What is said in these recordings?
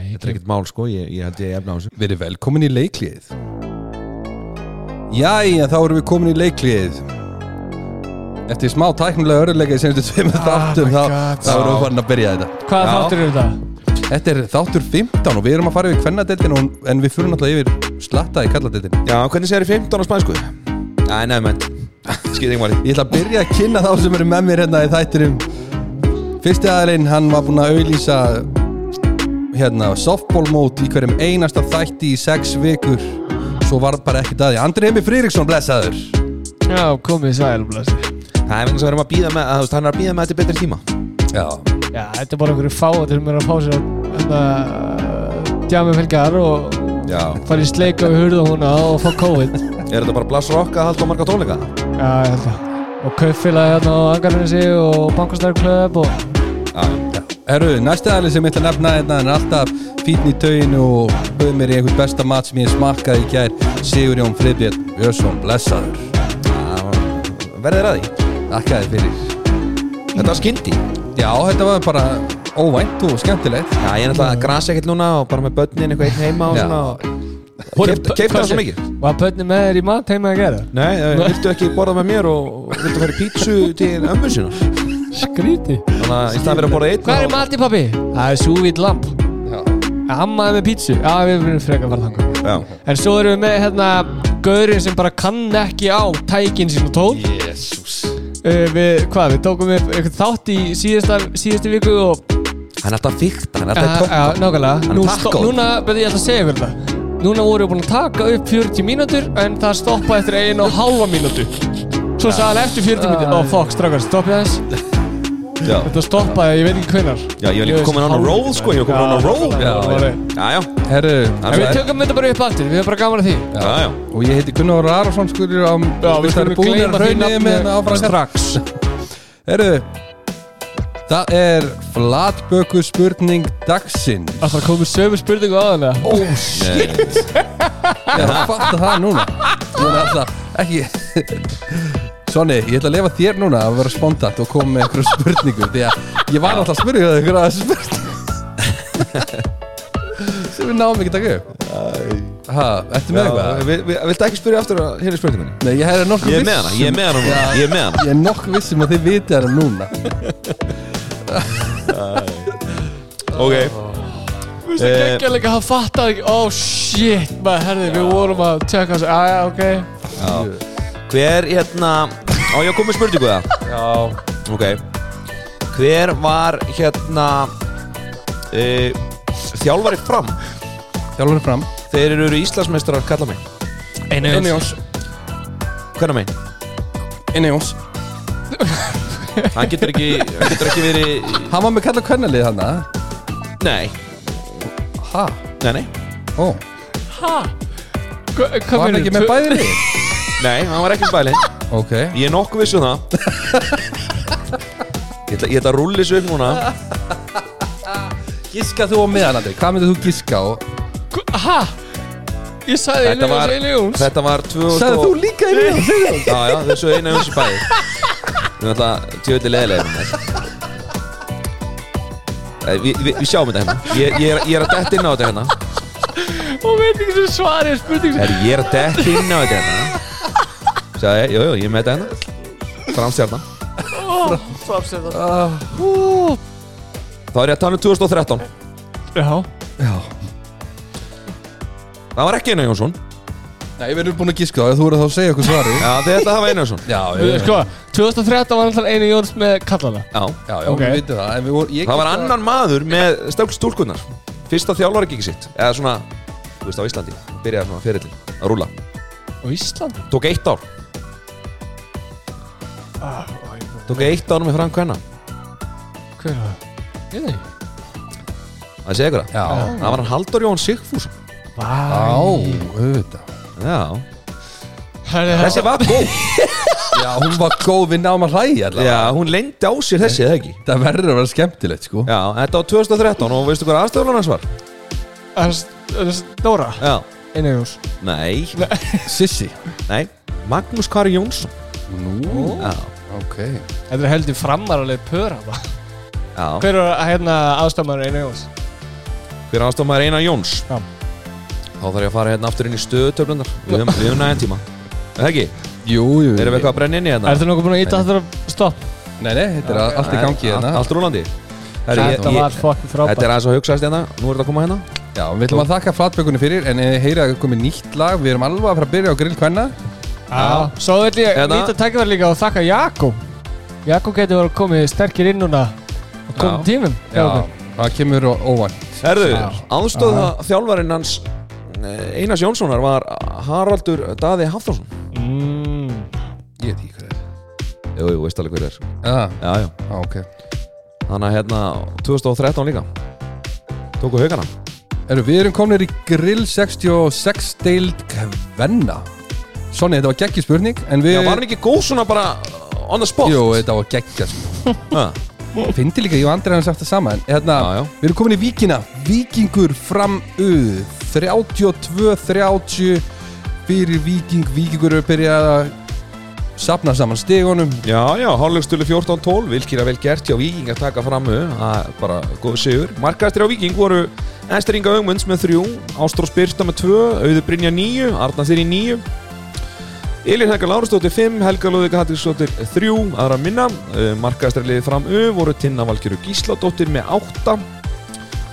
þetta er ekkert mál sko, ég, ég held ég efna á þessu Verið velkomin í leikliðið Jæja, þá erum við komin í leikliðið Eftir smá tæknilega öruleika í senstu tveimur þáttum Ah, my þá, God. þá erum við farin að byrja þetta Hvaða Já. þáttur eru það? Þetta er þáttur 15 og við erum að fara yfir kvennadeildin og, en við fyrir náttúrulega yfir slatta í kalladeildin Já, hvernig segir 15 á spænsku? Æ, nefnum en, skýt ekki máli Ég ætla að byrja að kynna þá sem eru með mér hérna í þættinum Fyrsti aðeirinn, hann var búinn að auðlýsa hérna, softball mót í hverjum einasta þætti í sex vikur Svo var bara ekkert að því Andri Heimi Friðriksson, blessaður Já, komið sæl, blessi. Það er vegna sem við erum að býða með, að, þú veist, hann er að býða með þetta betri tíma Já, Já, þetta er bara einhverju fáatir sem eru að fá sér að hérna, djami felgar og já fara í sleika við hurða húna og fá COVID. Er þetta bara blass rock að halda á marga tónleika? Já, ég held það. Og kauffélagi hérna á Angarnesi og Bankastarklöf og Já, já Herru, næsti aðeirinn sem ég ætla að nefna hérna hann er alltaf fítn í tauginu og bauð mér í einhvern besta mat sem ég smakkaði í gær Sigur Jón Friðbjörn Björnsson, blessaður Já, Verðið ræði Þakkaði fyrir Þetta var skyndi Já, þetta var bara óvænt og skemmtilegt Já, ég er náttúrulega að grasa ekkert núna og bara með börnin eitthvað einn heima og Já. svona og- Keypt- Keypti það svo mikið? Var pötni með þér í mat heima að gera? Nei, þau viltu ekki borða með mér og viltu fara í pítsu til ömmu sína Skríti. Þannig að í staðan fyrir að borða einn Hvað er og- í mati, pappi? Það er súvít lamp. Já Ammaði með pítsu. Já, við erum frekar að fara þangað. Já En svo erum við með hérna gaurinn sem bara kann ekki á tækin sín og tól. Jésús Uh, við, hvað, við tókum upp einhvern þátt í síðasta, síðasta viku og... Hann er alltaf fyrta, hann er Já, alltaf í já, tökka nákvæmlega. Hann Nú er stó- takkóð Núna, betur ég ætla að segja ykkur það. Núna vorum við búin að taka upp 40 mínútur en það stoppaði eftir einu og hálfa mínútu. Svo sagði hann eftir 40 mínútur, ó fokk, strákar, stoppið þess. Já, Þetta stoppaði, ég veit ekki hvenar. já, ég var líka komin án á roll sko, ég var komin án á roll Já, já. Já, já, Herru, En En við Það er- tökum þetta bara upp aftur, við erum bara gaman að því. já, já og ég heiti Gunnar Óra Arason skurður á Já, við skulum gleyma því raunni nafni með hérna áfram strax. Herru, það er flatböku spurning dagsins Það þarf að koma með sömu spurningu aðan eða? Ó, shit Ég er að fatta það núna Núna er það ekki Svonni, ég ætla að lefa þér núna að vera spontant og koma með einhverjum spurningum því að ég var alltaf að spyrja það einhverja að spurning sem við náum ekki taka upp Ha, ertu með eitthvað? vi, vi, Viltu ekki spyrja aftur að hérna spurningunni? Nei, ég er nokkuð um- Ég er með hana, ég er með hana, núna, ég er með hana Ég er nokk vissum að þið vitið hana núna Ok, Þú veist það Eh. geggja líka, hann fattar ekki, ó shit, maður, herði, við vorum að tjekka þessu, aðja, ok. hver hérna Á, ég komið spurningu það Já Ok Hver var hérna uh, Þjálfari fram Þjálfur fram Þeir eru Íslandsmeistrar kalla mig Einu, Inni Jóns Hvernig megin? Inni Jóns Hann getur ekki, hann getur ekki verið Hann var með kalla kvennalið hana Nei, Ha? nei, nei Ó Ha? Hva- Hvað Var hann meinarðu? ekki með Tvö- bæði lið? Nei, hann var ekki spæli Ok Ég er nokkuð vissu það Ég ætla, ég ætla að rúlla þessu upp núna Giska þú á meðan Andri Hvað myndir þú giska á? Hva- Ha? Ég sagði Einu Jóns, Einu Jóns þetta var 2000 Sæðu þú líka Inni Jóns? Já, já, þessu einu eins bæði Við erum alltaf tjóðið leðilegum Við vi, vi sjáum þetta hérna ég, ég, er, ég er að detta inn á þetta hérna Og veit ekki sem svarið spurning er, Ég er að detta inn á þetta hérna Sæði, jú, jú, ég er með þetta hérna Framstjarnan Framstæðan Ah, Þá er ég að tala um 2013 Já Já Það var ekki Einar Jónsson Nei, við erum búin að giska á Þú voru þá að segja okkur svari Já, þið ætla að hafa Einar Jónsson Já, Við- Sko, 2013 var alltaf Einu Jóns með kallana Já, Já, já, Ok. við vitum það en við voru, ég það var giska- annan maður með stökl stúlkunnar Fyrsta þjálfari ekki sitt Eða svona, þú veist á Íslandi Byrjaði svona fyrirli að rúla Á Íslandi Tók eitt ár Tók eitt ár með Frank Kvenna Hver var það? Ég veit ekki Það segja ykkur það Já Það var hann Haldur Jón Sigfússon Á, Vá auðvitað Já Herri, það- Þessi var góð Já, hún var góð við náum að hlæja allavega. Já, hún lengdi á sér þessi, eða ekki Það verður að vera skemmtilegt, sko Já, þetta var 2013 og veistu hvað aðstöðulan hans var? það er s- það er s- Dóra Já Einu Jóns Nei, Sissi nei Magnús Kari Jónsson Nú, Já, ok Þetta er heldur framaraleg pör hafa já Hver var hérna aðstæðmaður Einu Jóns? fyrir aðstofmaður Einar Jóns Já. þá þarf ég að fara hérna aftur inn í stöðutöflunar við höfum, við höfum næðan tíma Er það ekki, Jú, jú erum við eitthvað að brenna inn í hérna Er það nokkuð búin að íta aftur að stopp? Nei, nei, þetta er Nei, allt í gangi allt- hérna Allt rúlandi Herri, ég- Þetta ég- var fokkin Þetta frábært er aðeins að hugsaðist hérna, nú er þetta að koma hérna Já, við ætlum að þakka flatbökunni fyrir En eh, heyra að komið nýtt lag Við erum alveg að fara að byrja á grill kvenna Já, Svo vil ég Hérna. nýta tækifæri líka og þakka Jakob Jakob getur verið að komið sterkir inn núna og komið tímum hjá okkur. Það kemur á óvænt Herðu, Já. aðstöða þjálfarinn hans eh, Einars Jónssonar var Haraldur Daði Hafþórsson mm. Ég veit ekki hvað það Jú, jú, veist alveg hver er er Já, Já, já, á, Ah, ok þannig að hérna 2013 líka Tóku haugana Eru, við erum komin í grill 66 deild kvenna Sonni, þetta var geggjur spurning En við Já, var hann ekki góð svona bara on the spot? Jú, þetta var geggja sko. Ha, Fyndi líka, ég og Andri hann sagt það sama En hérna, Já, já. við erum komin í víkina Víkingur fram uð 32-30 Fyrir víking, víkingur er byrjað að Sapna saman stigunum Já, já, hálflegstölu 14-12 Vilkir að vel gert hjá Víking að taka framu Það er bara góð sigur Markaðastir á Víking voru Ester Inga Ögmunds með 3 Ástrós Birta með 2 Auður Brynja 9 Arna Þyri 9 Elin Helga Lárastóttir 5 Helga Lóðika Hattinsdóttir 3 Aðra minna Markaðastir liðið fram U voru Tinna Valkjöru Gísladóttir með 8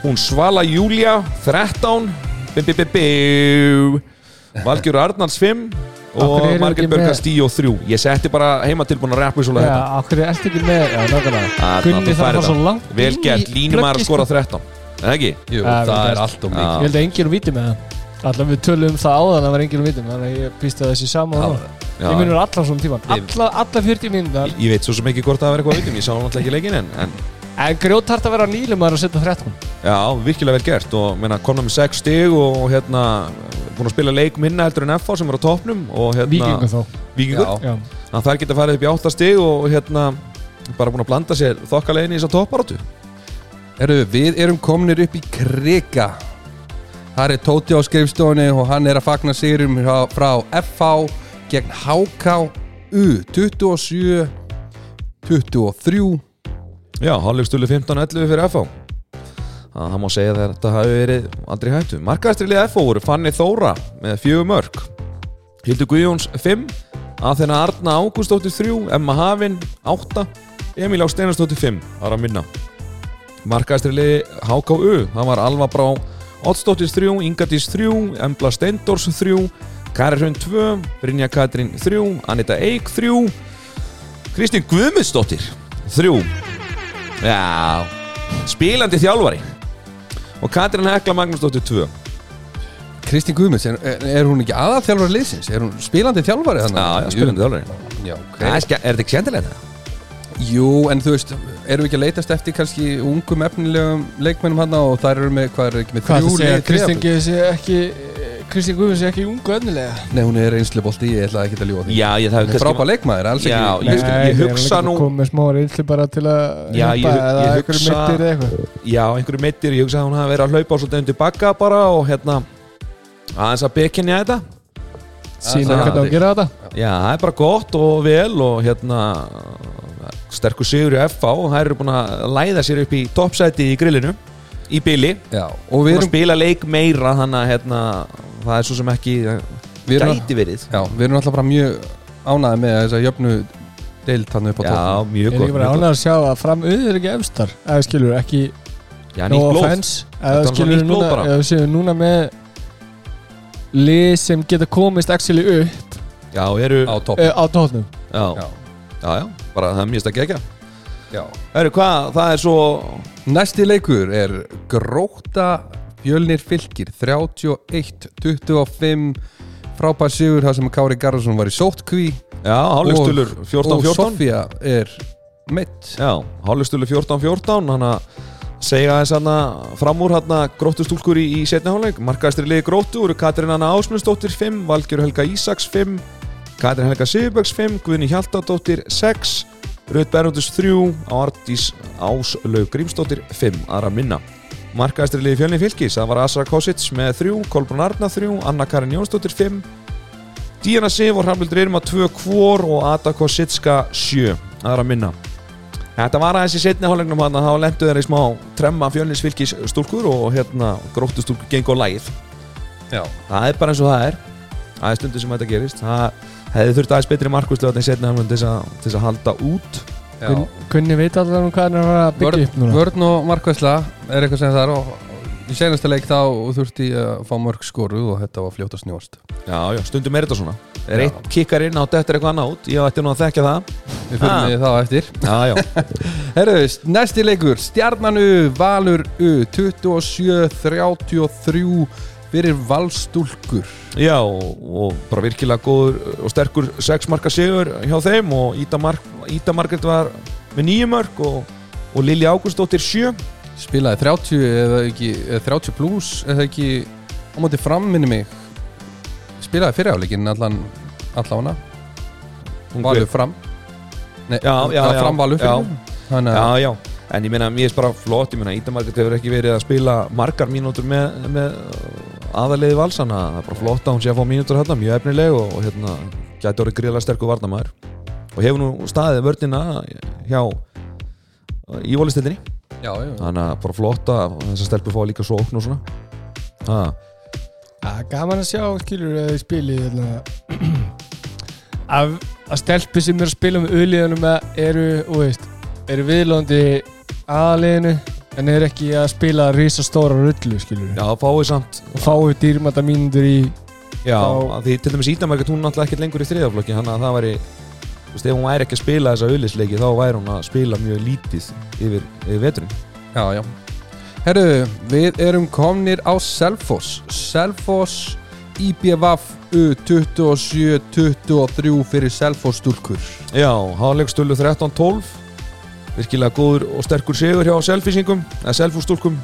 Hún Svala Júlia 13 Bim, bim, bim, bim Valkjöru Arnalds 5 Af og hverju eru Margrét ekki Börgar með? Stíó 3 Ég setti bara heima tilbúin að rappu svolítið Já, þetta okkur er eftir ekki með Já, nákvæmlega Þarna, Hérna, þú Gunni þarf færð að fara það. svo langt Vel inn í sko. gert, línum að pluggið, skora 13 Eða ekki? Jú, Ja, það vel er gert. allt og Já. mikið Ég held að enginn viti með það Allan við tölum um það áðan að var enginn viti með Þannig að ég býst að þessi sama og Já. Ég munur allan svona tíman Ég- Alla, alla 40 mínúndar Ég- Ég veit svo sem ekki hvort það er eitthvað að vitum Ég sá hann alltaf ekki leikinn en, en En grjótart að vera nýlum að setja 13 Já, virkilega vel gert Og meina, komna með 6 stig og hérna Búin að spila leik minna heldur en FH sem er á topnum og, hérna, Víkingu þá Víkingur Já. Já, Þannig að þær geta farið upp í 8 stig og hérna Bara búin að blanda sér þokkalegin í þess að topparáttu Herru, við erum kominir upp í Krika Það er Tóti á skrifstofunni og hann er að fagna sigurum frá, frá FH gegn HKU 27 23 Já, hálflegstölu 15-11 fyrir FH Það það má segja þegar þetta hafi verið aldrei í hættu. Markaðastrilið FH voru Fanni Þóra með fjögur mörg Hildur Guðjóns 5 Aþena Arna Ágústóttir 3 Emma Hafin 8 Emil Á Steinarstóttir 5 Það er að minna Markaðastrilið HKU Það var Alva Brá Oddstóttir 3 Ingadís 3 Embla Steindors 3 Kari Hrund 2 Brynja Katrin 3 Anita Eik 3 Kristín Guðmundsdóttir 3 Já, spilandi þjálfari Og Katrín Hekla Magnúsdóttir 2 Kristín Guðmunds, er, er, er hún ekki aðalþjálfari liðsins? Er hún spilandi þjálfari þannig? Já, já, spilandi þjálfari Já, ok. Það er ske- Er þetta ekki skemmtilega? Jú, en þú veist, erum við ekki að leitast eftir kannski ungum efnilegum leikmennum hann og þær eru með, hvað er ekki með Hvað það þrjú segja, lið í Kristján þreföld? Guðið sé ekki eh, Kristján Guðið sé ekki ungu öfnilega Nei, hún er einslega bolti, ég ætla ekki að ljúa því Já, ég það Hún er frábær leikmaður, alls Já, ekki ég skil- ég hugsa nú- Komið smá reynsli bara til að Já, ég- hjálpa eða ég einhverju hugsa- meiddir eða eitthvað. Já, einhverju meittir Ég hugsa að hún hafi verið að hlaupa á svolítið undir bakka bara Og hérna Aðeins að bekinja þetta Sýna það- hvernig á að gera þetta Já, það er bara gott og vel Og hérna Sterkur sigur í FH Og það eru búin að læða sér upp í toppsæti í grillinu Í byli Já, og Búin að við erum, spila leik meira Þannig að hérna Það er svo sem ekki við erum Gæti verið Já, við erum alltaf bara mjög ánæði með þess að jöfnu deilt hann upp á Já, tóttum mjög Ég er gott, ekki bara mjög ánægð gott. að sjá að fram auður ekki efstar eða skilur ekki Já, no nýtt blóð offense Þetta eða var skilur nýtt blóð núna bara. eða séu núna með lið sem geta komist actually upp Já, eru á topp eh, á tóknum já, Já. já, já, bara það er mjög stakki ekki Já. Herru, hvað, það er svo Næsti leikur er Gróta Fjölnir Fylkir 31-25 frábær sigur þar sem Kári Garðarsson var í sótkví Já, hálfleikstulur og 14-14 Sofía er mitt Já, hálfleikstulur 14-14 Þannig að segja þess hana fram úr hana gróttustúlkur í, í setni hálfleik Markaðastri liði gróttu eru Katrín Anna Ásmundsdóttir 5, Valgjör Helga Ísaks 5 Katrín Helga Sigurbjörgs 5 Guðni Hjaltadóttir 6 Rut Bernundus 3 Ardís Áslaug Grímsdóttir 5 aðra minna Markaðastri liði fjölni fylgis, það var Asra Kosits með 3, Kolbrun Arna 3, Anna Karin Jónsdóttir 5 Díana Sif og Hramlildur Irma 2 kvor og Ada Kositska 7 aðra minna Þetta var aðeins í setni hálfleiknum þannig að þá lendu þeir í smá tremma fjölnisfylgis stúlkur og hérna gróttustúlkur geng og læð Já. Það er bara eins og það er Það er stundu sem þetta gerist Það hefði þurft aðeins betri markvistlega í setni hálfleiknum til þess að- til þess að halda út Já. Gun- Gunni veit allavega um hvað hann er að fara að byggja upp Vörn, núna vörn og markvæsla er eitthvað sem það er og í senasta leik þá þurfti ég að fá mörg skoru og þetta var fljóta snjóst Já, já, stundum er þetta svona Er Já. eitt kikkar inn á dættir eitthvað annað út Ég ætti nú að þekka það Við fyrir Ah. ah. það á eftir Já, já, Herru, næsti leikur, Stjarnanu Valur U 27-33 fyrir Valstúlkur já og, og bara virkilega góður og sterkur sex marka sigur hjá þeim og Ída, Mark, Ída Margrét var með nýju mörg og, og Lili Ágústóttir sjö spilaði 30 eða ekki eða 30 plus eða ekki á móti framminni mig spilaði fyrir áleikin allan allána, Hún valur guð. fram Nei, Já, já, eða já. fram valur Já. fyrir þannig að Já, já, en ég meina, mér er bara flott Ég meina, Ída Margrét hefur ekki verið að spila margar mínútur með, með aðaliði valsana Það er bara flott að hún sé að fá mínútur hérna Mjög efnileg og, og hérna Gæti orðið gríðlega sterkur varnamæður Og hefur nú staðið vörnina hjá Ívólistildinni já, já, Þannig að bara flotta þessar stelpur fá líka svo okn og svona ha, Já, Ah, gaman að sjá, skilur, eða í spili að, hérna. Af að stelpi sem eru að spila með auðlíðanum eru, þú veist, eru viðlóðandi aðliðinu en eru ekki að spila risastóra rullu skilur Já, fáið samt og fáu dýrmata mínundur í Já, Þá- að því til dæmis Ídamarget hún er náttúrulega ekkert lengur í þriðaflokki Þannig að það væri Þú veist, ef hún væri ekki að spila þessa auðlisleiki Þá væri hún að spila mjög lítið yfir, yfir veturinn já, já. herru, við erum komnir á Selfoss Selfoss IBVF U27-23 fyrir Selfoss stúlkur Já, hálfleikstölu 13-12 Virkilega góður og sterkur sigur hjá selfísingum Eða selfústúlkum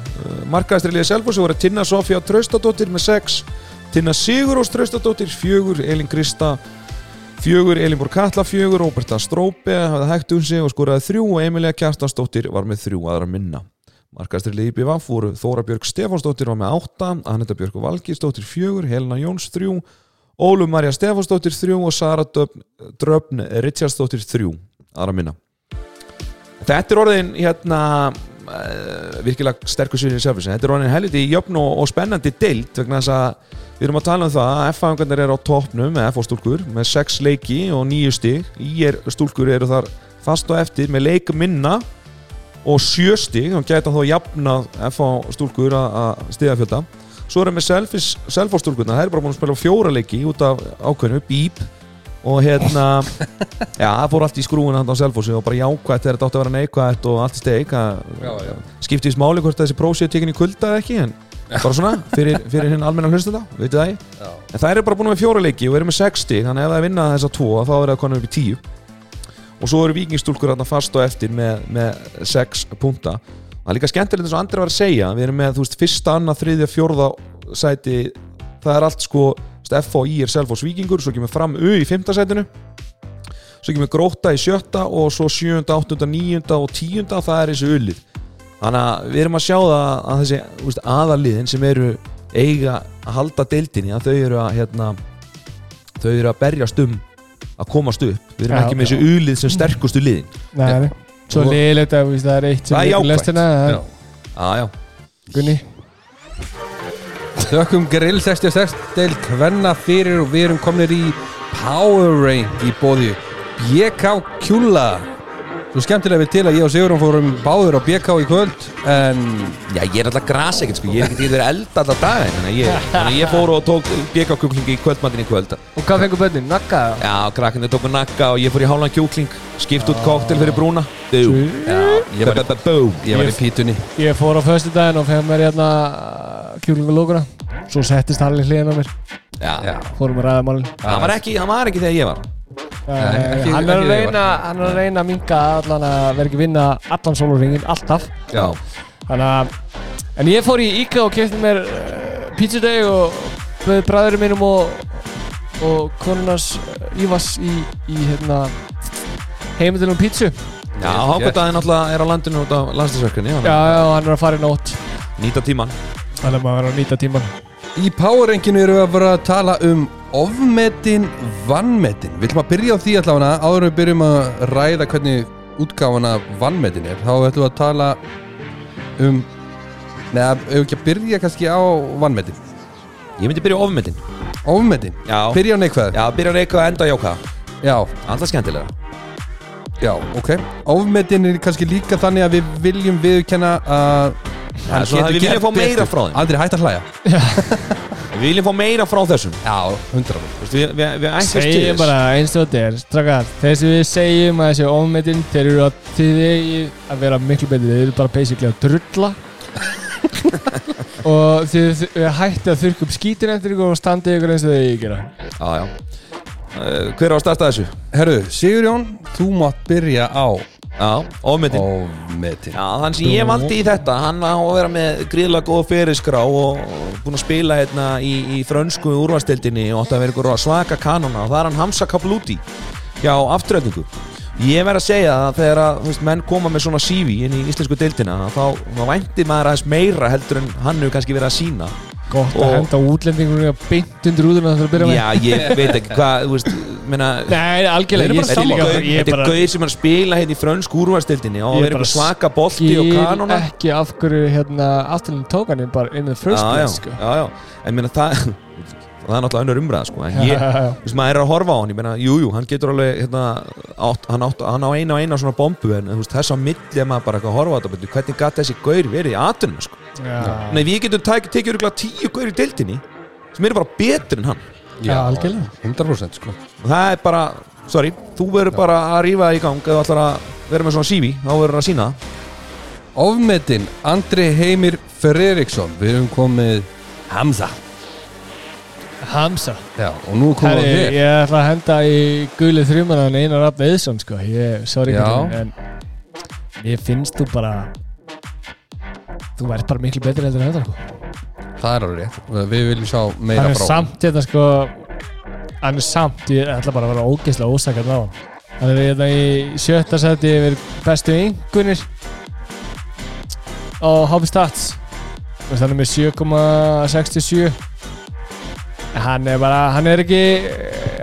Markaðastriliði selfúsi voru Tinna Sofía Traustadóttir með 6 Tinna Sigur og Traustadóttir 4 Elin Krista 4 Elinborg Katla 4 Róberta Strópe hafði hægt um sig og skoraði 3 og Emilia Kjartastóttir var með 3 aðra minna Markaðastriliði IBVF voru Þóra Björg Stefánsdóttir var með 8 Annetta Björg Valgistóttir 4 Helena Jóns 3 Ólum Marja Stefánsdóttir 3 og Sara Döfn, Dröfn Richardsdóttir 3 aðra minna Þetta er orðin hérna eh, virkilega sterkur sýrið sérfins þetta er orðin helviti jöfn og, og spennandi deilt vegna þess að við erum að tala um það að F-fangarnir eru á toppnum með F og stúlkur með 6 leiki og 9 stig IR stúlkur eru þar fast og eftir með leik minna og 7 stig og geta þá jafnað F og stúlkur að- að stigafjölda svo erum við selfostúlkurna það er bara búin að spila fjóra leiki út af ákveðinu, bíp og hérna, já, það fór allt í skrúuna hann á selfossi og bara jákvætt þegar þetta átti að vera neikvætt og allt í steik Já, já. skiptist máli hvort þessi prósi er tekinni kulda eða ekki, en bara svona fyrir, fyrir hinn almenna hlusta það, veitu það ég já, en það eru bara búin með fjóra leiki og eru með 60 þannig að ef það er vinna þessa tvo, þá er það konum upp í 10 og svo eru vikingstúlkur þarna fast og eftir með, með 6 punta það er líka skemmtilegt eins og Andri var að segja við erum með þú veist, fyrsta, annað, þriðja, fjórða sæti það er allt sko þú veist, F og I er Selfoss vikingur svo kemur fram U í fimmta sætinu svo kemur Gróta í sjötta og svo sjöunda, áttunda, níunda og tíunda það er þessi ullið þannig að við erum að sjá það að þessi þú veist, aðaliðin sem eru eiga að halda deildinni að þau eru að hérna, þau eru að berjast um að komast upp við erum Já, ekki með já. þessi ullið sem sterkustu liðin Nei, svo Og- liðilegt að þú veist, það er eitt sem Það er leikur jákvætt. lestina það er- já. Já, já, Gunni Þökkum Grill 66 deil kvenna fyrir og við erum komnir í Power Rank í bóði BK Kjúla Svo skemmtilega við til að ég og Sigurðum fórum báður á BK í kvöld en já ég er alltaf grasa ekkert sko, ég er ekkert í þeirra elda alltaf daginn þannig að ég, þannig að ég fór og tók bjökakjúklingi í kvöldmattin í kvöld Og hvað fengur bönnin? Nakka? Já, krakkarnir tóku nakka og ég fór í hálfan kjúkling skipt út koktel fyrir brúna Bú, ég var, bú ég var í pítunni Ég fór á föstu daginn og fegð mér hérna kjúlingulókuna Svo settist Halli hliðin á mér Já, Fórum að ræða málinn það var ekki, það var ekki þegar ég var Eh, ekki- Hann er ekki þegar að ég reyna Hann er að reyna að minga allan að vera ekki að vinna allan sólurringin alltaf Já, Þannig að En ég fór í Íka og kefti mér uh, pizzadeg og bauði bræðurum mínum og og konunars Ívas í, í hérna heimildinum pizzu já hákvæmdaðin alltaf er á landinu út af landslæsverkunni Já, já, hann er að fara í nótt Nýta tíman Þannig að maður verður að nýta tíman Í Power Rankinu erum við að bara að tala um ofmetin, vannmetin Við ætlum að byrja á því allavega áður en við byrjum að ræða hvernig útgáfan af vannmetin er þá ætlum við að tala um neða, ef við ekki að byrja kannski á vannmetin Ég myndi byrja á ofmyndin ofmetin, Já. byrja á neikvæður Já, byrja á neikvæða enda jóka já, Alltaf skemmtilega já, ok ofmetin er kannski líka þannig að við viljum viðkenna að Já, hann svona að getur við viljum gert fá meira betur. frá þeim. Andri, hætt að hlæja Við viljum fá meira frá þessum já, hundra Þú veist, Við, við, við ætlumst til Segjum þess. bara eins og þetta er Strakar, þeir sem við segjum að þessi ofmetin Þeir eru að þið eigi að vera miklu betur Þeir eru bara basically að drulla Og þið er hætti að þurrka upp skítin eftir ykkur Og standa ykkur eins og þið eigi að gera Já, já Uh, Hver á að starta þessu? herru, Sigurjón, þú mátt byrja á Já, ofmyndin ofmetin Já, þann sem ég valdi í þetta, hann á að vera með gríðlega góða fyrirskrá og og búinn að spila hérna í, í frönsku úrvastildinni og átti að vera ykkur svaka kanona og það er hann Hamza Kabluti hjá afturöldingu. Ég verð að segja að þegar að, þú veist, menn koma með svona CV inn í íslensku deildina þá, þá vænti maður aðeins meira heldur en hann hefur kannski verið að sína. Gott Og- að henda útlendingunum að beint undir úðuna þegar að byrja með Já, ég veit ekki hvað, þú veist, meina... Nei, Þeir eru algjörlega, ég bara skil saman ekki gaur. að- ég Þetta er bara gauð sem er að spila hérna í frönsku úrvastildinni og Ég verið bara ykkur svaka bolti og skil kanona. ekki af hverju hérna afturlinn tók hann inn bara in the first já, já, place sko. já, já, en meina það það er náttúrulega önnur umræða sko en ég, Já, já, já. þú veist, maður er að horfa á hann ég meina, jú, jú, hann getur alveg hérna, átt, hann, átt, hann á eina og eina svona bombu en þú veist, þess á milli er maður bara eitthvað að horfa á þetta betur, hvernig gat þessi gaur verið í atunum sko Já, nei, við getum tæk, tekið örgulega tíu gaur í deildinni sem eru bara betur en hann já, algjörlega 100% sko og það er bara, sorry, þú verður bara að rífa það í gang eða allar að vera með svona CV þá verður að sína það Ofmetin Andri Heimir Fredriksson Við höfum komið Hamza Hamza Já, og nú komum við Herri, þér ég ætla að henda í gulið þrjumannan Einar Rapp Eðsson sko. ég, sorry, Já. Katrín, en ég finnst þú bara þú vært bara miklu betri heldur en þetta sko. Það er alveg rétt Við viljum sjá meira hann er frá honum. samt þetta sko hann er samt, ég ætla bara að vera ógeðslega ósakar á hann hann er þetta í sjötta seti yfir bestu yngunir á Hopstats hann er með 7,67 hann er bara hann er ekki,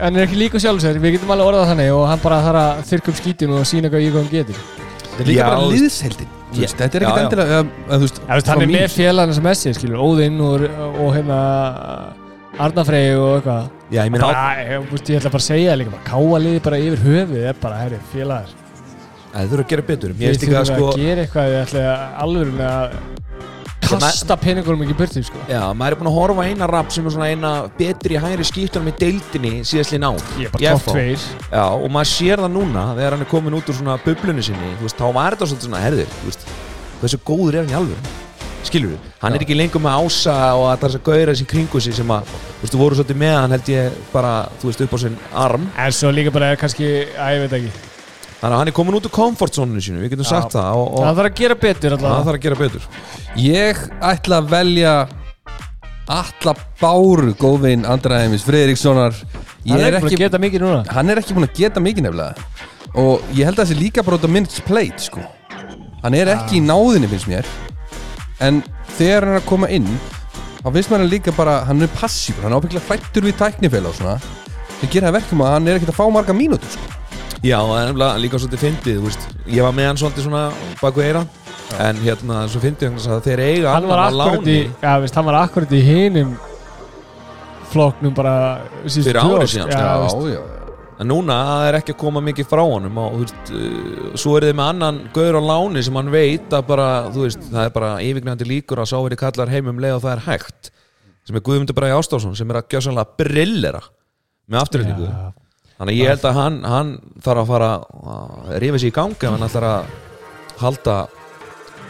hann er ekki líka sjálfsæður við getum alveg orðað þannig og hann bara þarf að þyrka upp skítinu og sína hvað ég hvað hann getur Þetta er líka Já, bara þú veist- liðsheldin Þú veist, Þetta er Já, já. ekkert endilega um, að, þú veist, Já, veist, hann frá er mín- með félagana sem Messi skilur, Óðinn og, og hérna Arnafrey og eitthvað já, ég meina, bara, ég, veist, ég ætla bara að segja það líka bara káaliði bara yfir höfuð er bara, herri, félagar það þurfa að gera betur Þið ég veist ekki að þurfið sko að gera eitthvað ég ætla alveg að kasta peningunum ekki í burti sko. Já, maður er búinn að horfa á eina rap sem er svona eina betri hægri skýttunum í deildinni síðastlinn ár ég er Í bara FH. topp tveir Já, og maður sér það núna þegar hann er komin út úr svona bublunni sinni þú veist, þá var þetta svolítið svona herðir þú veist, hversu góður er hann í alveg skilur við, hann er ekki lengur með ása og að þess að gauðra þessi kringu sig sem að þú veist, þú voru svolítið með hann held ég bara þú veist, upp á sinn arm en svo líka bara er kannski, að ég veit ekki þannig að hann er komin út úr komfortzóninu sinu við getum Já. sagt það og, hann og þarf að gera betur hann alltaf þarf að gera betur Ég ætla að velja Alla Báru Góðvin Andri Heimis Fredrikssonar Ég hann er er ekki búin að ekki geta mikið núna Hann er ekki búin að geta mikið nefnilega Og ég held að þessi líka bara út á minutes played sko. Hann er ekki Ah. í náðinni finnst mér En þegar hann er að koma inn Þá finnst mér hann líka bara Hann er passífur, hann er ábyggilega fættur við tæknifél og svona Sem gera það verkum að hann er ekkert að fá marga mínútur sko. Já, það er nefnilega líka svolítið fyndið, þú veist Ég var með hann svolítið svona baku eira En hérna, svo fyndið hann að þeir eiga hann var annan á akkurat í, láni já, veist, hann var akkurat í hinum floknum bara síðustu Fyrir tvö ári ár, síðan, sko. já, veist, já, En núna, það er ekki að koma mikið frá honum og, þú veist, uh, Svo er þið með annan gaur á láni sem hann veit að bara, þú veist Það er bara yfirgnandi líkur að sá verið kallar heim um leið og það er hægt Sem er Guðmundur Bræði Ástásson sem er að gjöra sannlega brillera með afturhendingu já. Þannig að ég held að hann, hann þarf að fara að rífa sér í gangi ef hann ætlar að halda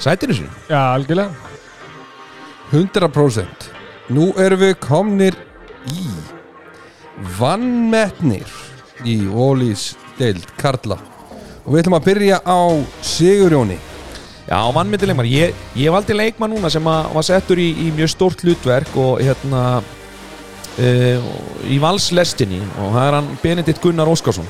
sætinu sínu já, algjörlega 100% Nú erum við komnir í Vannmetnir Í Ólís deild Karla Og við ætlum að byrja á Sigurjóni Já, vannmyndi leikmann Ég, ég valdi leikmann núna sem að, var settur í, í mjög stórt hlutverk og hérna uh, í valslestinni og það er hann Benedikt Gunnar Óskarsson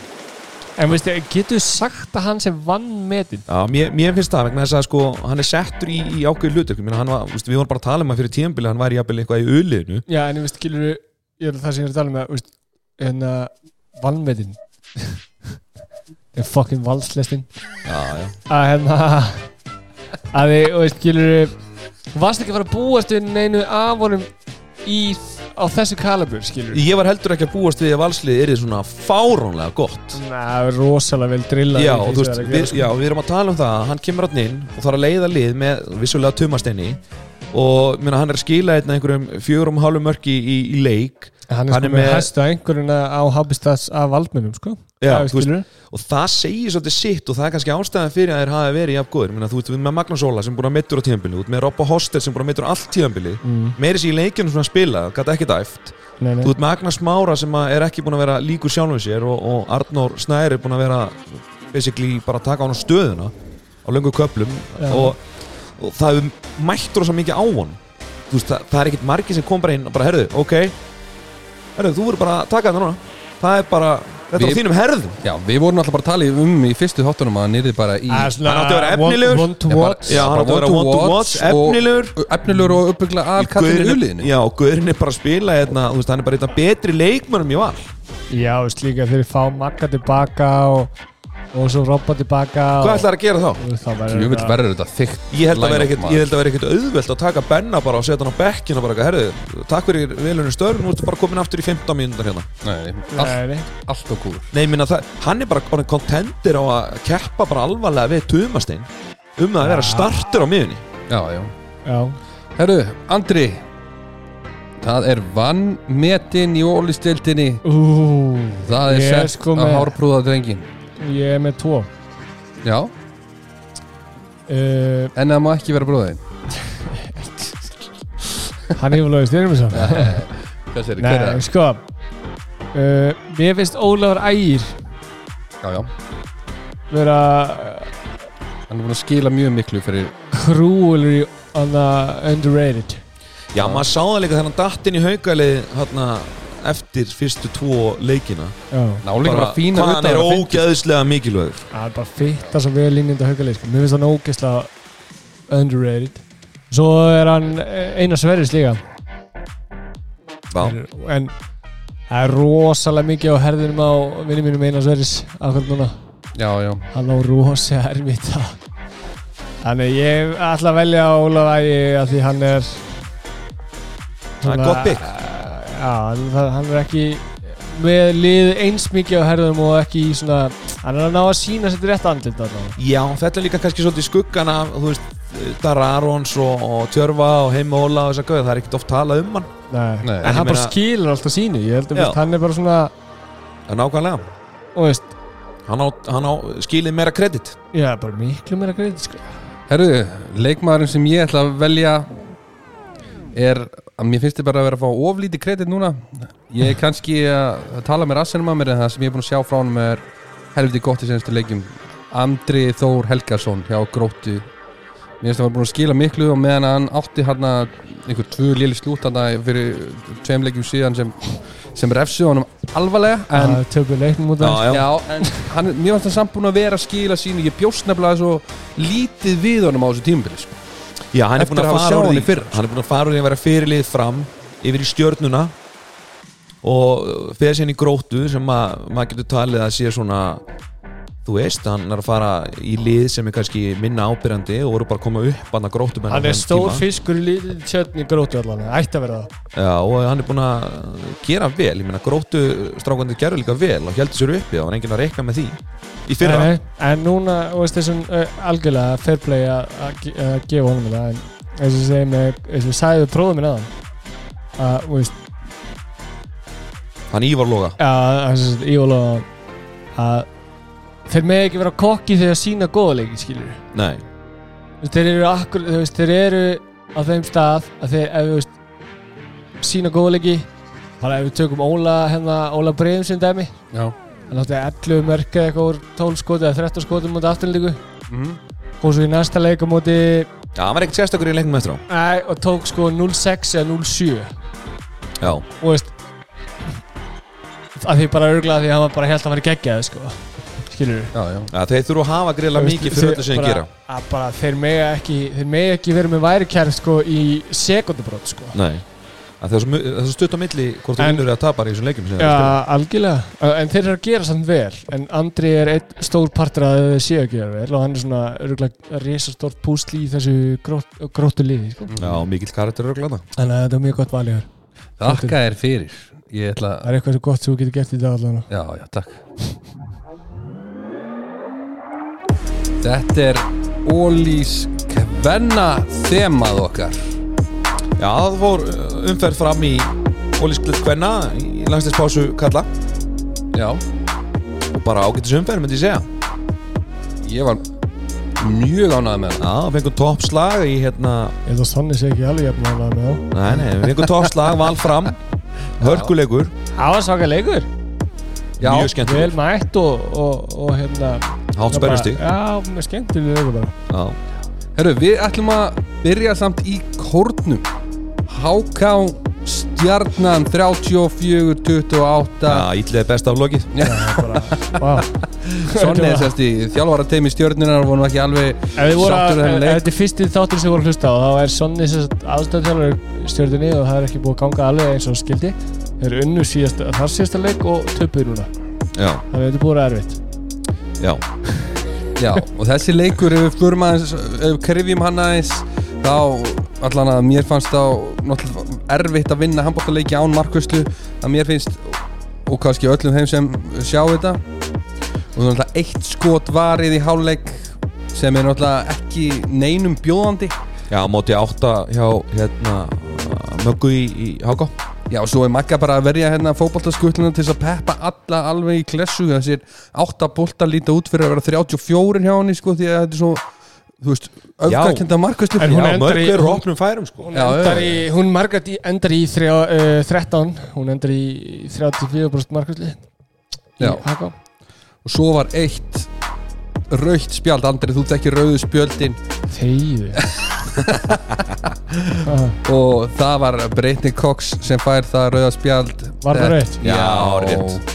en veist, getur sagt að hann sem vann metin Já, mér, mér finnst það vegna þess að sko hann er settur í, í ákveðu hlutverk Ég meina, hann var, veist, við vorum bara að tala um hann fyrir tíðanbili hann væri jafnvel eitthvað í uliðinu Já, en ég veist, skilur hérna, ég er það sem ég er að tala um að, veist, en að valmetin er fucking valslestin Já, já að hérna að þið, og veist, skilur varst ekki að fara að búast við neinu af honum í, á þessu kalabur, skilur Ég var heldur ekki að búast við að valslið er svona fáránlega gott Nei, það er rosalega vel drillað já, í því og þú veist, sem það er að gera, við, sko. já, við erum að tala um það að hann kemur hann inn og þarf að leiða lið með vissulega tumastenni og minna, hann er að skila hérna einhverjum fjögur og hálfum mörki í, í leik Hann er, Hann er sko með með- hæstu einhverjuna á Habitats af valdmennum sko Já, Það þú veist, skilur við. og það segir svolítið sitt og það er kannski ástæðan fyrir að þeir hafa verið jafn góður Minna, þú veist, við erum með Magnús Óla sem búin að mittur á tíðanbili út með Robba Hostel sem búin að mittur allt tíðanbili mm, meiri sér í leikjunum sem hann spila, gæti ekki dæft nei, nei. þú veist með Agnar Smára sem að er ekki búin að vera líkur sjálfum sér og, og Arnór Snæri er búin að vera basically bara að taka hann á stöðuna á löngu köplum Já. og, og það hefur mættur svo mikið á hann þú veist, það, það er ekkit margir sem kom bara inn og bara herðu, ok herðu, þú verður bara að taka þetta núna það er bara, þetta er Við- á þínum herðum Já, við vorum alltaf bara að tala um í fyrstu þáttunum að hann yrði bara í Það er svona Hann átti að vera one- efnilegur. One to Já, bara- watch Já, hann átti að vera one to watch, og- efnilegur efnilegur og uppbyggla Í af kallinu gaurinn- uliðinu Já, Guðurinn er bara að spila hérna, þú veist, hann er bara eitthvað betri leikmönnum í val Já, þú veist líka þeir fá Magga tilbaka og, og svo Robba tilbaka Hvað og- ætlar að gera þá? og Það Jú verður vil verður þetta þykkt Ég held að vera line-up, ekkit, maður. ég held að vera ekkit auðvelt að taka Benna bara og setja hann á bekkinu og bara eitthvað, herðu, takk fyrir velunum störn, nú ertu bara komin aftur í 15 mínútur hérna Nei, all, Nei, nei. allt og kúr Nei, ég minna það, hann er bara orðin kontender á að keppa bara alvarlega við Tumastein um Ah. að vera startur á miðunni Já, já Já, Herru, Andri Það er vannmetin í ólistildinni ú Það er Ég er sett sko að með- hárprúða drengin Ég er með tvo Já, uh, en það má ekki vera bróðin Hann hefur lögist þér um þess að Hvað sér, hver Nei, er sko uh, Mér finnst Ólafur Ægir Já, já, vera hann er búin að skila mjög miklu fyrir cruelly on the underrated Ah. Já, maður sá það líka þegar hann datt inn í haukalið hérna eftir fyrstu tvo leikina Já nálega bara fína hvað hann er utan- ógeðslega mikilvægur Það er bara fitta svo vel inn í þetta haugalið sko. Mér finnst hann ógeðslega underrated Svo er hann eina sverjus líka Já, En það er rosalega mikið á herðinum á vinni mínum eina sverjus Akkur núna Já, já, Hann á rosa erfitt að- Þannig ég ætla að velja Ólaf Ægi að því hann er Það er gott pick. Já, hann- það- hann er ekki með lið eins mikið á herðum og ekki í svona hann er að ná að sína sitt rétt andlit allavega. Já, þetta er líka kannski svolítið skuggan af, þú veist, Dara Arons og, og Tjörva og Heima Óla og þess að gauða, það er ekkert oft talað um hann. Nei. En nei En ég hann meina- bara skilur alltaf sínu Ég held að Já. veist, hann er bara svona Það er nákvæmlega. og veist, Hann á, hann á skilið meira kredit. Já, bara miklu meira greið sko. Herru, leikmaðurinn sem ég ætla að velja er að mér finnst þið bara að vera að fá oflítið kredit núna ég er kannski að tala með rassinum að mér en það sem ég er búin að sjá frá hann er helviti gott í senstu leikjum Andri Þór Helgason hjá Gróttu mér finnst það var búin að skila miklu og meðan hann átti hann einhver tvö léli slút hann fyrir tveim leikjum síðan sem, sem refsu honum alvarlega en en töfum leiknum út af Já, já. Já, en hann, mér fannst það samt búin að vera að skila sínu Ég bjóst nefnilega svo lítið við honum á þessu tímabili sko. Já, hann er Eftir búin að að hafa fara sjá úr hann í því, fyrra. hann er búin að fara úr því að vera fyrirlið fram yfir í stjörnuna og fyrir síðan í gróttu sem að, maður getur talið að sé svona, þú veist, hann er að fara í lið sem er kannski minna ábyrjandi og voru bara að koma upp hann að gróttu Hann er stór fiskur í lítið tjörn í grótu allan Ætti að vera það Já, og hann er búinn að gera vel ég meina gróttu strákandi gerur líka vel og heldur sér uppi, það var enginn að reyka með því í fyrra, Nei, Eh, En núna, þú veist, þessum uh, algjörlega fair play að- að ge- að gefa honum þetta En eins og ég segi með eins og ég sagði við prófum minn aðan að, þú veist, hann Ívar Loga að, að, að ívala að þeir með ekki vera kokki þegar sína góða leiki, skilur Nei, Þú veist, þeir eru akkur, þú veist, þeir eru á þeim stað að þeir, ef þú veist, sína góðleiki bara ef við tökum Óla, hérna, Óla Breiðum sem dæmi, Já hann átti 11 mörk eða eitthvað úr 12 skoti eða 13 skoti mútið afturlíku Mhm. og svo í næsta leika múti já, hann var ekkert sérstakur í lengum eftir á og tók sko 0-6 eða 0-7 Já, og veist að því bara örglaði því að hann var bara helt að fara í geggjaði sko, skilur við Já, já ja, þeir þurfa að hafa grilla mikið fyrir þetta sem þeir gera að bara þeir megi ekki, þeir megi ekki verið með væri kjærð sko í sekundabrót sko Nei, að þessu, þessu stutt á milli hvort þú En- vinnur eða tapar í þessum leikjum sem þeir eru að spila. Já, algjörlega, Uh, en þeir eru að gera samt vel en Andri er einn stór partur að þeir séu að gera vel og hann er svona örgulega risastórt púsli í þessu grótt, gróttu liði sko. Já, mikill karakter eru glada þannig að þetta er mjög gott valíður Þakka þér fyrir Ég ætla það er eitthvað svo gott sem þú getur gert í dag allavega Já, já, takk Þetta er Ólís Kvenna þemað okkar Já, það fór uh, umferð fram í Ólísklut Kvenna í landslæðspásu Kalla Já, og bara ágættis umferð, myndi ég segja ég var mjög ánægð með hana Já, við fengum toppslag í hérna ég þó sannig sé ekki alveg jafn alveg með þá Nei, nei, við fengum toppslag, val fram Hörkuleikur, það var svaka leikur, Já, mjög vel skemmtileg mætt og, og, og hérna Hátt spennustig já, með skemmtileg leikur bara Já, herru, við ætlum að byrja samt í kórnum Háká Stjarnan 34, 28 Já, ítlið er best af lokið Vá. Sonni er sérst í þjálfara teimi stjörnunar vorum ekki alveg Ef þið voru að, sáttur við ef þennan ef leik þetta er fyrsti þáttur sem voru að hlusta á þá er Sonni aðstæðtjálfur stjórninni og það er ekki búið að ganga alveg eins og skildi Þeir eru unnu síðasta, þar síðasta leik og töpuð núna Já, Það er þetta búið að vera erfitt já, Já, og þessi leikur ef við förum aðeins, ef við krifjum hann aðeins þá allan að mér fannst þá náttúrulega erfitt að vinna handbóttaleiki án markvöslu að mér finnst og kannski öllum þeim sem sjá þetta og það er náttúrulega eitt skot varið í háluleik sem er náttúrulega ekki neinum bjóðandi já, móti átta hjá hérna Möggu í, í Háká Já, og svo er Magga bara að verja hérna fótboltaskutluna til þess að peppa alla alveg í klessu þessir átta boltar líta út fyrir að vera 34 hjá henni sko því að þetta er svo, þú veist, öfgakenda markvæslu En Já, Hún endar í- Möggu er opnum færum sko Hún, Já, endar já, í, hún margat í, endar í þrjá, uh, 13 Hún endar í 34% margatli Í Já. Haka og svo var eitt raukt spjald, Andri, þú tekir rauðu spjöldin Þeyðu Ah, og það var Breitni Cox sem fær það rauða spjald Var það rautt? Já, Já, rétt.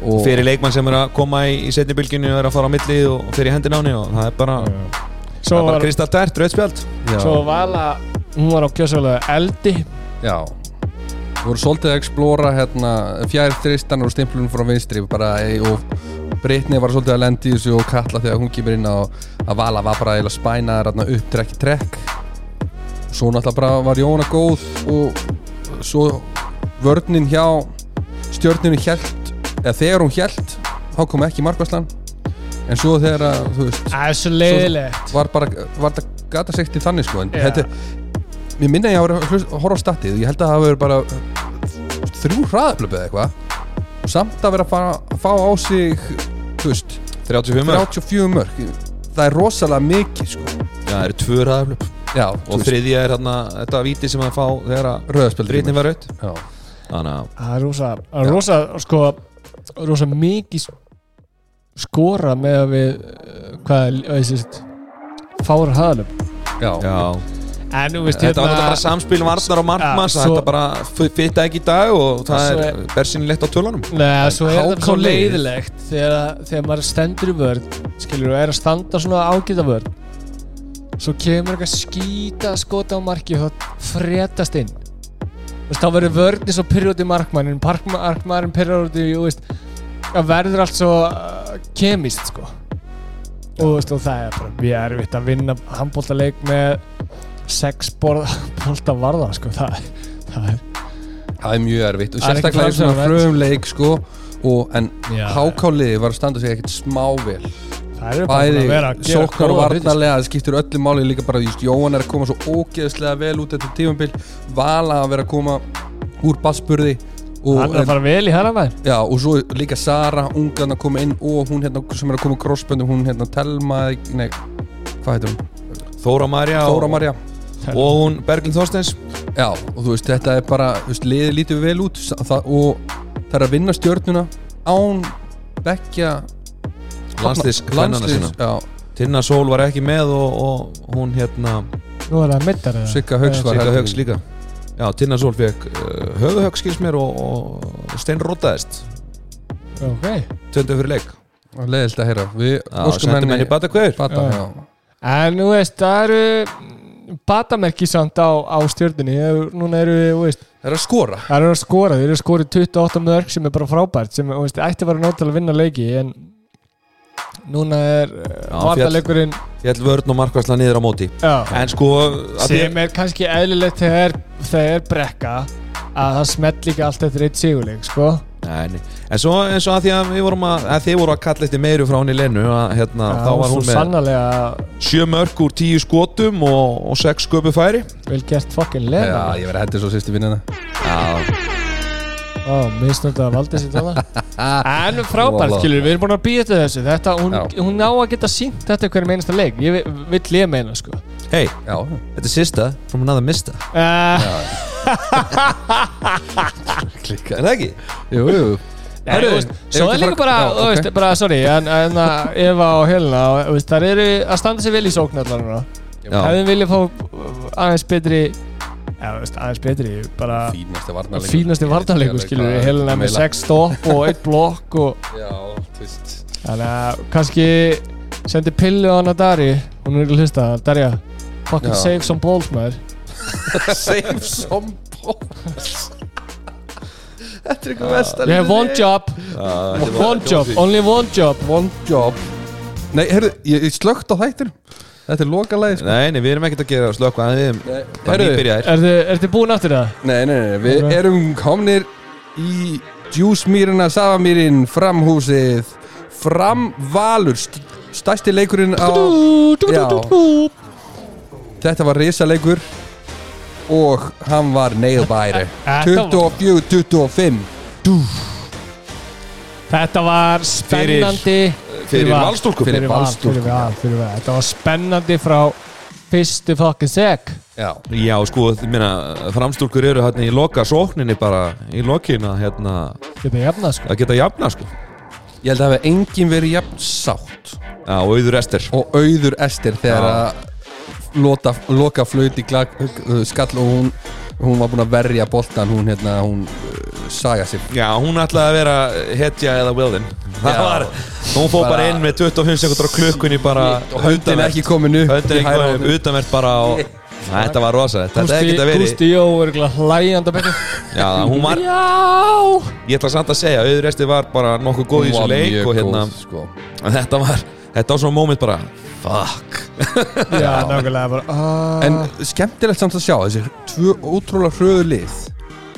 og, Fyrir leikmann sem er að koma í, í setni bylginu og er að fara á millið og fyrir hendin á henni og það er bara, Svo það er bara var, kristall tært, rauðspjald já, svo vala Hún var á kjössalega eldi já voru svolítið að explora hérna, fjær þristan og stimplun frá vinstri bara, e, og Brittany var svolítið að lendi þessu og kalla þegar hún kemur inn á að Vala var bara eiginlega spænaðar hérna, upp trekk í trekk svo náttúrulega bara var Jóna góð og svo vörnin hjá stjörninu hjælt eða þegar hún hjælt þá kom ekki markvæslan en svo þegar að, þú veist Það er svo leiðilegt var bara, var það gata segt í þannig sko en Já. þetta, mér minna að ég að vera að horfa á statið, ég held að það hafi verið bara eh, þrjú hraðaflöp eða eitthvað og samt að vera að fara, að fá á sig þú veist, 35 mörg, 34 mörg það er rosalega mikið sko já, það eru tvö ræðaflöp já, og þriðja er þarna, þetta víti sem að fá þegar að röðspjöldur drittin var raut já, þannig að, Það er rosa, það er rosa, sko, rosa mikið skora með að við, uh, hvað, er veist, fára hraðanum. já, já, En þú veist, þetta var þetta bara samspil varnar og markmanns, Hérna- Já, svo- þetta bara f- fitta ekki í dag og það Svo er bersinilegt á tölunum Nei, svo er þetta svo Hákon Leif. leiðilegt þegar, að- þegar maður stendur í vörð, skilur, og er að standa svona ágæta vörð. Svo kemur eitthvað skýta skota á marki og það frétast inn. Þú veist, þá verður vörðin svo pyrr út í markmannin, markmannin pyrr út í, þú veist, það verður allt svo uh, kemist, sko. Og, þú veist, og það er bara mjög erfitt að vinna handbóltaleik með sex bólta varða, sko. Það, það er, það er mjög erfitt og Það er ekki sérstaklega í framsæknar svona verð. fröðum leik sko og en Já. hákáliði var að standa sig ekkert smável það er bara búin bæði að vera að gera sóknar og góða hluti, sko. varnarlega það skiptir öllu máli líka bara just, Jóhann er að koma svo ógeðslega vel út þetta tífambil, Vala að vera að koma úr basspurði og, Hann er að fara vel í hana maður já, og svo líka Sara, ungan að koma inn og hún hérna sem er að koma úr crossböndum hún hérna Telma, nei hvað heitir hún, Þóra Marja Þóra og, Marja og hún Berglind Þorsteins já, og þú veist þetta er bara þú veist, liðið lítið vel út sa- það, og það er að vinna stjörnuna án bekkja landsliðs kvennana sinna já, Tinna Sól var ekki með og, og hún hérna, Nú er það mittar eða? Sigga Hauks var hérna. Sigga heldur- Högs líka já, Tinna Sól fekk uh, höfuhögg skils mér og, og stein rótaðist Eh, Ok töndu fyrir leik leiðilt að heyra við Já, sendum henni batakveður bata, Já. já. En þú veist, það eru mm, batamerki samt á, á stjörnunni Ef- Núna eru, þú veist Það er að skora Það eru að skora, þeir eru að skora í 28 mörg sem er bara frábært sem þú veist, ætti að vera nóg til að vinna leiki en núna er eh, Já, vartalegurinn Fjall vörn og markværsla niður á móti já, En sko að því- sem er kannski eðlilegt þegar það er brekka að það smelt líka allt eftir eitt sigurleik sko. Nei, nei. En svo eins og að því að við vorum að, að þið voru að kalla eftir meiru frá henni Lenu að hérna, Já, þá var hún svo með sannarlega sjö mörg úr tíu skotum og, og sex sköpu færi vel gert fokkin Já, leina ég verði að hætti svo sýsti vinnina Já, Ó, misnöndað að valdi sér þarna En Vola. frábært, skilur, við erum búin að býja til þessu Þetta, hún, Já. hún á að geta sínt þetta í hverjum einasta leik Ég vi- vill ég meina, sko hei, Já, þetta er sista from another mista uh, klikka Er það ekki? Jú, jú Nei, Herru, þú veist, ef Svo ekki er líka fara- bara, Já, þú ok. veist, bara, sorry En, en að Eva og Helena þú veist, Þar eru að standa sér vel í sóknallar núna Já, Hefðum viljað fá uh, aðeins betri Já, þú veist, aðeins betri Bara Fínasti varnarleikur fínasti vartanleikur, skilur við Helena með sex stopp og eitt blokk og, Já, þú veist Þannig að kannski sendi pillu á hana Dari Hún er ekki að hlusta, Darja Fucking Já. save some balls, maður Save some balls Þetta er eitthvað vest You have one job, one job, only one job One job Nei, heyrðu, ég, ég slögt á þættir Þetta er lokalæði sko. Nei, nei, við erum ekkert að gera slökk Við erum bara Heyrðu, nýbyrjaðir Er þið búin aftur það? Nei, nei, nei, við Ok. erum komnir í djúsmýrina, safamýrin, framhúsið, framvalur, st stærsti leikurinn á, Já. þetta var risaleikur og hann var neyðbæri, Þetta var- 24-25. Þetta var spennandi Fyrir Val. valstúlkum Fyrir- Val, Valstúlkum. Fyrir val, fyrir val Þetta var spennandi frá fyrstu fucking seg Já, Já, sko, ég meina, framstúlkur eru hérna í loka sókninni bara í lokin að hérna, Þetta er jafna sko að geta jafna, sko ég held að hafa enginn verið jafn sátt Já, og auður Ester og auður estir þegar Já. að lota, loka flöyti í glag, uh, skall og hún, hún var búin að verja boltan, hún hérna, hún uh, saga sig Já, hún ætlaði að vera eh, hetja eða Willin Það Já. var, hún fór bara, Bara- inn með 25 sekundar á klukkunni bara og höndin ekki komin upp Höndin í ekki hægra bara hornið. utanvert bara og Næ, Þetta var rosa, þetta hefði Gústi, ekkert að veri Gústi Jó er ekki hlægjandi að bekka Já, hún var, Já ég ætla samt að segja Auður Ester var bara nokkuð góð í Hún þessu var leik mjög og hérna, góð, sko. þetta var Þetta var svona moment bara Fuck Já, nákvæmlega bara ah. En skemmtilegt samt að sjá þessi tvö ótrúlega hröðu lið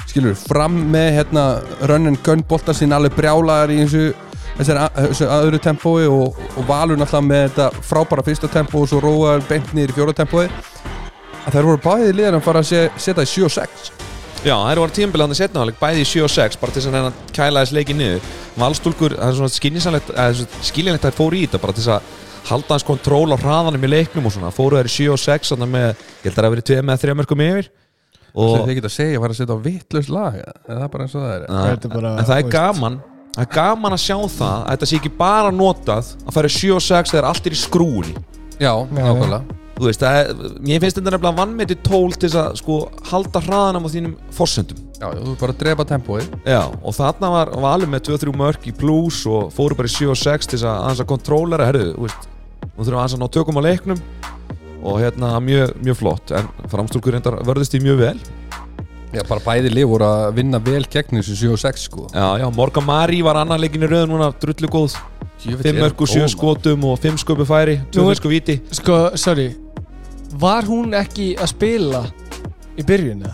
skilur, fram með hérna run and gun bolta sín alveg brjálaðar í þessu, þessari a- þessu öðru tempói og, og valur náttúrulega með þetta frábæra fyrsta tempó og svo róaðar beint niður í fjóra tempói að þær voru bæðið liðan að fara að se- setja í 7 og 6 Já, það eru voru tímabilaðan í setna áleik Bæði í 7 og 6, bara til þess að reyna að kæla þess leiki niður Valstúlkur, það er svona skynjanlegt eða svona Skiljanlegt að þær fóru í þetta bara til þess að halda hans kontról á hraðanum í leiknum og svona fóru þær í 7 og 6 þarna með, ég held að það hafi verið 2 með 3 mörgum yfir og Þegar þið geta að segja að fara að setja á vittlust lag eða? er það bara eins og það er Já, Þetta er bara- Ah, en það er þú veist. gaman það er gaman að sjá það að þetta sé ekki bara notað að fara í 7 og 6 þegar allt er í skrúni Já, Nei. nákvæmlega þú veist, það er, ég finnst þetta nefnilega vannmeti tól til þess að sko halda hraðanum á þínum forsendum Já, þú er bara að drepa tempói Já, og þarna var valið með 2-3 mörk í plus og fóru bara í 7 og 6 til þess að aðeins að kontrólera, herru, þú veist nú þurfum aðeins að ná tökum á leiknum og hérna mjög, mjög flott en framstúrkur reyndar vörðist því mjög vel Já, bara bæðið lið voru að vinna vel gegn þessu 7 og 6 sko Já, já, Morgan Mari var annar leikin í röðu núna drullu góð, 5 mörk og 7 skotum og 5 sköpu færi, 2 Nú er- mörk og viti Sko, sorry Var hún ekki að spila í byrjunni?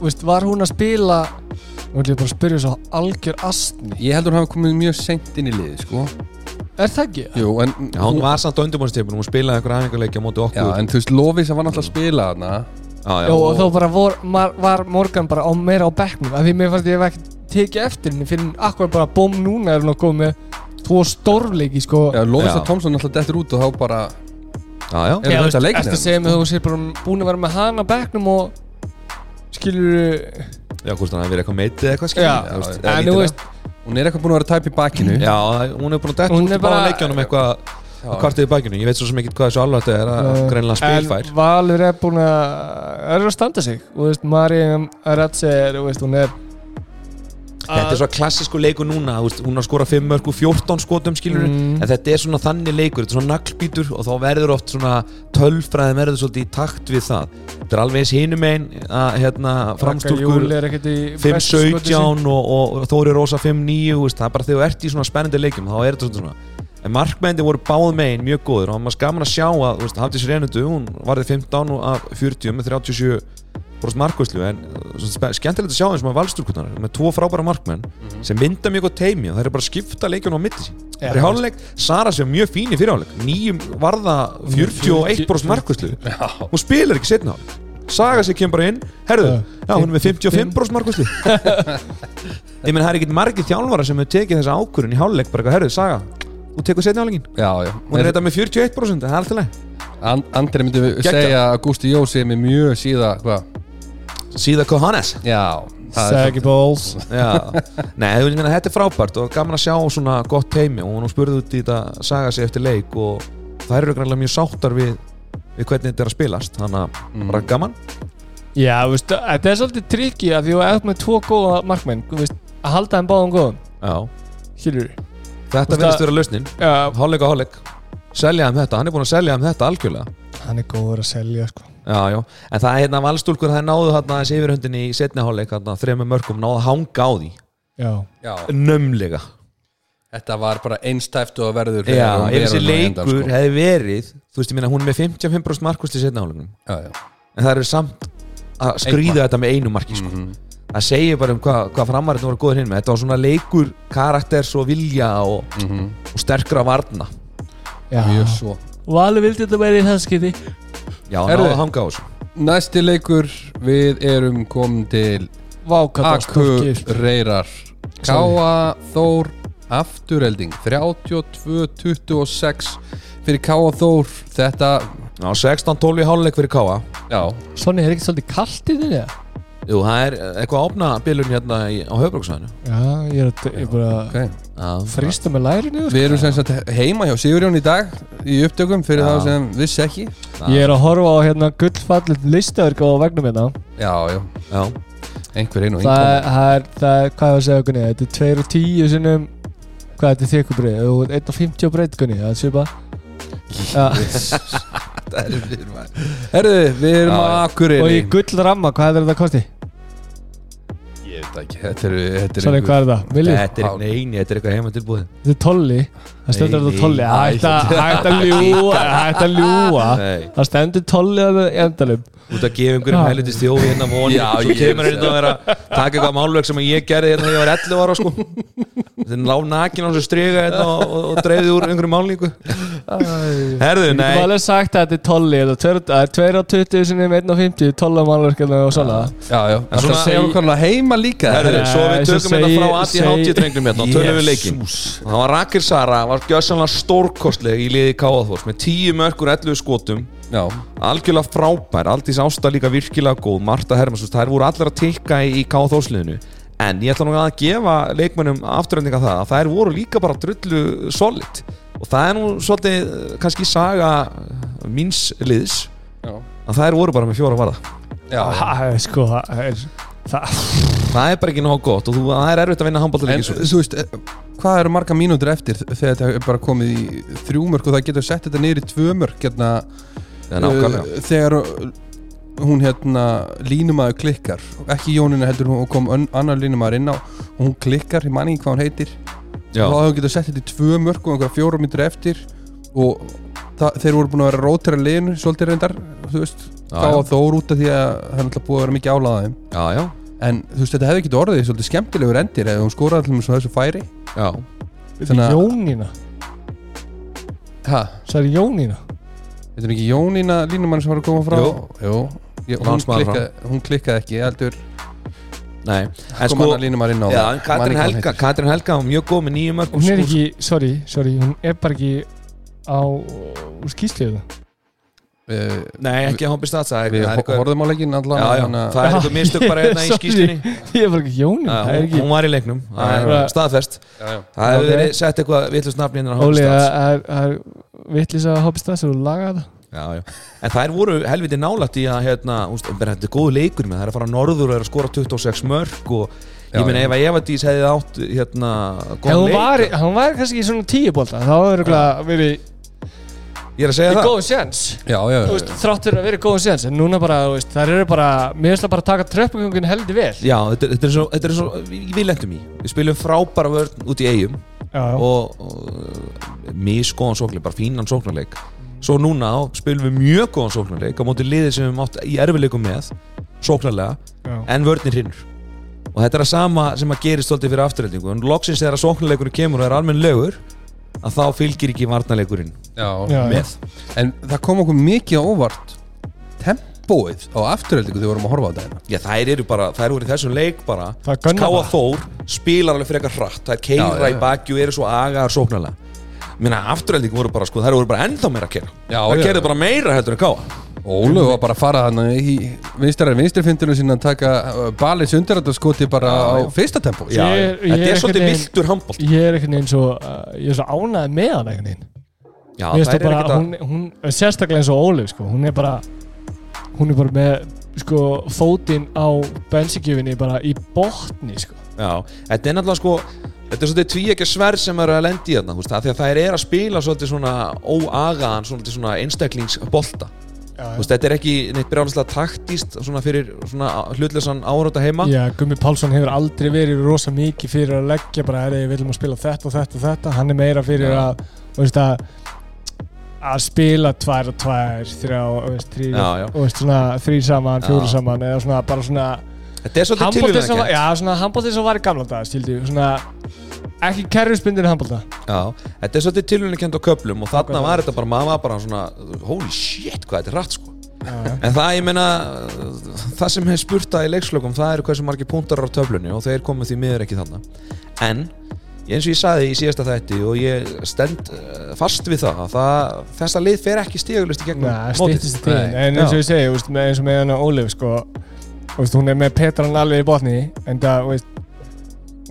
Veist, var hún að spila Nú ætlum ég bara að spyrja svo algjör astni Ég heldur hann hafi komið mjög seint inn í liðið sko Er það ekki? Jú, en, Já, hún var samt á undirbúinstipun, hún spilaði einhverja æfingarleiki á móti Já, okkur en þú veist, Lovisa var náttúrulega að spila hana já, já, Já, og þá bara vor, mar, var Morgan bara á meira á bekknum af því mér fannst ég hef ekki tekið eftir henni fyrir akkur bara bóm núna er hún að koma með tvo stórleiki sko Já, Lovisa Já. Thompson náttúrulega dettur út og þá bara já, já. er þetta veist, leiknir ertu að segja mig þú sér bara búin að vera með hana á bekknum og skilur já hvort hann hafi verið eitthvað meitið eða eitthvað skilur Já, þú veist, eða en þú lítilega. veist Hún er eitthvað búin að vera tæp í bakinu Já, hún er búin að detta Hún út er í bara bara- leikjanum eitthvað Já. kvartið í bækinu, ég veit svo sem ekkert hvað þessu alveg þetta er að Nei. greinlega spilfær en Valur er búin að er að standa sig og þú veist Mariam Ratse er, þú veist, hún er þetta er svo klassísku leikur núna þú veist, hún har skorað 5 mörg og 14 skotum skilur en þetta er svona þannig leikur, þetta er svona naglbítur og þá verður oft svona tölfræðin verður svolítið í takt við það þetta er alveg eins hinum einn að hérna, framstúlkur Júli er ekkert í bestu skoti 5-17 og, og, og Þóri Rósa 5-9 þú veist, það er bara þegar þú ert í svona spennandi leikjum þá er þetta svolítið svona en markmændi voru báð megin mjög góður og maður skaman að sjá að þú veist, Hafdís Reynundu hún varði 15 og- af 40 með 37 brúst markvæslu en uh, svona spe- skemmtilegt að sjá eins og maður valstúrkunar með tvo frábæra markmenn sem mynda mjög gott teimi og það er bara að skipta leikjunum á milli sín það er háluleik, Sara sem mjög fín í fyrirháleik nýjum varða 41 brúst markvæslu hún spilar ekki setna háluleik Saga sig kemur bara inn, herðu, já, hún er með 55 brúst markvæslu ég menn það er ekkert margir þjálfara sem hefur tekið þessa ákvörun í háluleik bara eitthvað, herðu, Saga, hún tekur setna háluleikin já, já hún er þetta með 41% það er alltaf leið And, Andri myndi Geggjað. segja að Gusti Jó sé mér mjög síða hvað síða Kohannes já það er- Saggy balls Já, nei, þú veist, ég meina, þetta er frábært og gaman að sjá svona gott teimi og hún spurði út í þetta saga sig eftir leik og það eru grannlega mjög sáttar við, við hvernig þetta er að spilast þannig að Mm, bara gaman Já, þú veist, þetta er svolítið trikki að því að ert með tvo góða markmenn þú veist, að halda þeim báðum góðum Já. skilur Þetta Þú veist verðist að- vera lausnin, Já, hálfleik og hálfleik selja um þetta, hann er búin að selja um þetta algjörlega Hann er góður að selja sko Já, já, en það er hérna valstúlkur það náðu þarna þessi yfirhundin í setni hálfleik þarna þremur mörgum, náðu að hanga á því Já já nömlega þetta var bara einstæft og verður Já, hún ef þessi verður hún á endan, leikur sko. hefði verið þú veist, ég minna, hún er með 55% markvist í setni hálfleikum já, já en það eru samt að skrýða þetta með einu marki sko. Mhm. það segir bara um hvað hva framarinn voru góður hinn með þetta var svona leikur, karakter, svo vilja og, Mhm. og sterkra varna Já mjög svo Valur vildi þetta verið í það skiti já, Herðu. náðu að hanga á þessu næsti leikur við erum komin til Vákata Akureyrar Káa Þór afturelding 32-26 fyrir Káa Þór þetta, já, 16-12 í háluleik fyrir Káa já, Svonni, er ekki svolítið kalt í þinni? eða? Jú, það er eh, eitthvað ápna bilun hérna í, á höfbruksvæðinu Já, ég er, að- ég er bara ok Frýsta með lærinu við erum sem sagt heima hjá Sigurjón í dag í upptökum fyrir Já. þá sem vissi ekki Ég er að horfa á hérna gullfallit listaverk á vegnum hérna já, já, já, einhver einu Það er, það er, það er, hvað ég að segja Gunni Þetta er 2 og 10 sinnum Hvað þetta er þekubrið Þú er 1 og 50 breytt Gunni Það er svipa herðu, við erum Já, á já. Og í Akureyri gull ramma, hvað er þetta að kosti? ég veit ekki, þetta eru þetta eru Svonni, einhver- hvað er það? Miljón? þetta er eitthvað eini, þetta er eitthvað heima tilbúið Þetta er tolli Það stendur Nei, þetta tolli nei, Ætta, ætta ljúa Ætta ljúa Nei, Það stendur tolli að endalum út að gefa einhverjum Já. helvitist þjófi hérna voni, Já, svo ég- kemur hérna að vera taka eitthvað málverk sem ég gerði hérna þegar ég var 11 ára sko þannig lág nakin á þessu stryga hérna og, og, og dreifði úr einhverju málningu Herðu, Þú var nei alveg sagt að þetta er tolli þetta er tveir- Það er 2 og 20 sinnum 1 og 50 12 hérna málverkefna og svona já, já, svona- alltaf segjum hvernig að heima líka Herðu, svo Nei, við svo tökum hérna frá segi- ADHD drengnum hérna og tölum við leikin Jesús. Það var Rakir Sara, var gjössanlega stórkostleg í liði Káðaþórs með 10 mörkur 11 skotum já, algjörlega frábær, Aldís Ásta líka virkilega góð, Marta Hermansson, þær voru allar að tikka í, í K-þósliðinu en ég ætla nú að gefa leikmönnum afturöndinga það að þær voru líka bara drullu solid og það er nú svolítið eh, kannski saga eh, míns liðs já, að þær voru bara með fjóra varða já, já. Það er sko Það er Það það er bara ekki nóg gott og þú, það er erfitt að vinna handbóltaleiki En svo þú veist, eh, hvað eru marga mínútur eftir þegar þetta er bara komið í þrjú mörg og það getur sett þetta niður í tvö mörg hérna, en ákvæmlega, eh, þegar eh, hún hérna línumaður klikkar ekki Jónina heldur hún kom ön, annar línumaður inn á og hún klikkar, ég man ekki hvað hún heitir já, og þá hún getur sett þetta í tvö mörg og einhverja fjóra mínútur eftir og það, þeir voru búin að vera að rótera liðinu svolítið reyndar, þú veist Já, þá já. að þór út af því að það er náttúrulega búið að vera mikið álaðið já, já, en þú veist, þetta hefði ekki orðið svolítið skemmtilegur endir ef hún skoraði allir með svo þessu færi já Þetta Þannig er að- Jónína ha, Það er Jónína Þetta er ekki Jónína línumann sem var að koma frá Jú. Jú. Ég, hún, Lánsmaður frá. klikkaði, hún klikkaði ekki heldur nei, en kom sko annar línumann inn á já, en það. Man Katrin ekki hvað Helga, Katrin Helga var mjög góð með nýju mörg Hún er ekki Sorry, sorry Hún er bara ekki á skýsliðu hún heitir. nei, ekki að hópi statsa Eh, Við horfðum á leikinn allan uh, Já, já, þannig að- það er eitthvað mistök bara hérna í Sorry. skýslinni Ég er bara ekki Jónína Já, Það er hún, ekki hún var í leiknum Það er Já. staðfest Já, já. Það hefur Ok. verið sett eitthvað vitlust nafn hérna Óli, á eh, Hallstaðs. það er- það er vittlisa hoppistans og laga það Já, já. En þær voru helviti nálægt í að hérna, úst, bara, þetta er góð leikur með það er að fara norður og er að skora 26 mörg og Ég meina ef að Eva Dís hefði átt hérna En góðan hún leik var, í- hún var kannski í svona tíu bólta Þá hefur örugglega verið Ég er að segja í það góðum séns já, já, Þú veist, Þrátt fyrir að vera í góðum séns En núna bara, þú veist, þær eru bara Mér finnst það bara að taka tröppugöngun heldur vel Já, þetta, er- þetta er svo, þetta er svo við við lendum í Við spilum frábæra vörn út í eigum Já, og, og misgóðan sóknarleik, bara fínan sóknarleik Svo núna á, spilum við mjög góðan sóknarleik á móti liðið sem við mátt í erfileikum með sóknarlega, Já. en vörnir hinnur og þetta er að sama sem að gerist stoltið fyrir afturreldingu, en loksins þegar að sóknarleikurinn kemur og er almenn lögur að þá fylgir ekki varnarleikurinn já, Já, já. með En það kom okkur mikið á óvart tempóið á afturöldingu þegar við vorum að horfa á þetta hérna. Já, þær eru bara, þær eru í þessum leik bara Það gunna Káa bara. Þór spilar alveg frekar hratt Þær keira Já, já, já. í baki og eru svo agaðar sóknarlega Minna, afturhelding voru bara, sko, þær voru bara ennþá meira að kera Já, Þær já, kerðu já. bara meira heldur en Káa Ólu var bara að fara hann í vinstrar vinstrifindinu sinna að taka uh, balið sundarandarskoti bara á fyrsta tempó Já, Ég já. er- ég þetta er er svolítið einhvern viltur handbólt Ég er einhvern veginn svo uh, Ég er svo ánæði með hann einhvern veginn Já, þær Mér finnst það er bara, ekkert að hún, hún, sérstaklega eins og Ólið sko, hún er bara hún er bara með sko, fótinn á bensíkjöfinni bara í botni sko. Já, þetta er náttúrulega sko Þetta er svolítið tvíekja sverð sem eru að lendi þarna þú veist, af Því að þær eru að spila svolítið svona óagaðan, svolítið svona einstaklingsbolta Já, Þú veist, Þetta er ekki neitt brjálislega taktíst svona fyrir svona hlutlausan áráta heima Já, Gummi Pálsson hefur aldrei verið rosa mikið fyrir að leggja bara, herri, við viljum um að spila þetta og þetta og þetta, hann er meira fyrir Já. að, þú veist að að spila tvær og tvær þrjá, þú veist, þrý, Já, já. þú veist, svona þrý saman, fjóri Já. saman eða svona, bara svona Þetta er svolítið handbóltið sem, tilviljunarkennt. var- já, svona handbóltið sem var í gamla dag, stildi, svona ekki kerfisbundin handbólta Já, þetta er svolítið tilhjóðinekend á köflum og þarna Nákvæmlega. var þetta bara, maður var bara svona holy shit, hvað þetta er rætt sko Já, en það, ég meina, uh, það sem hefur spurtað í leikslökum, það eru hversu margir púntar á töflunni og þeir komið því miður ekki þarna en, eins og ég saði í síðasta þætti og ég stend uh, fast við það, að það þessa lið fer ekki stíðuglust í gegnum Nei, mótið. stýttist í tíðin Nei, En eins já. og ég segi, úst, með, eins og með hann Ólef sko, úst, hún er með Petran alveg í botni en það, úst,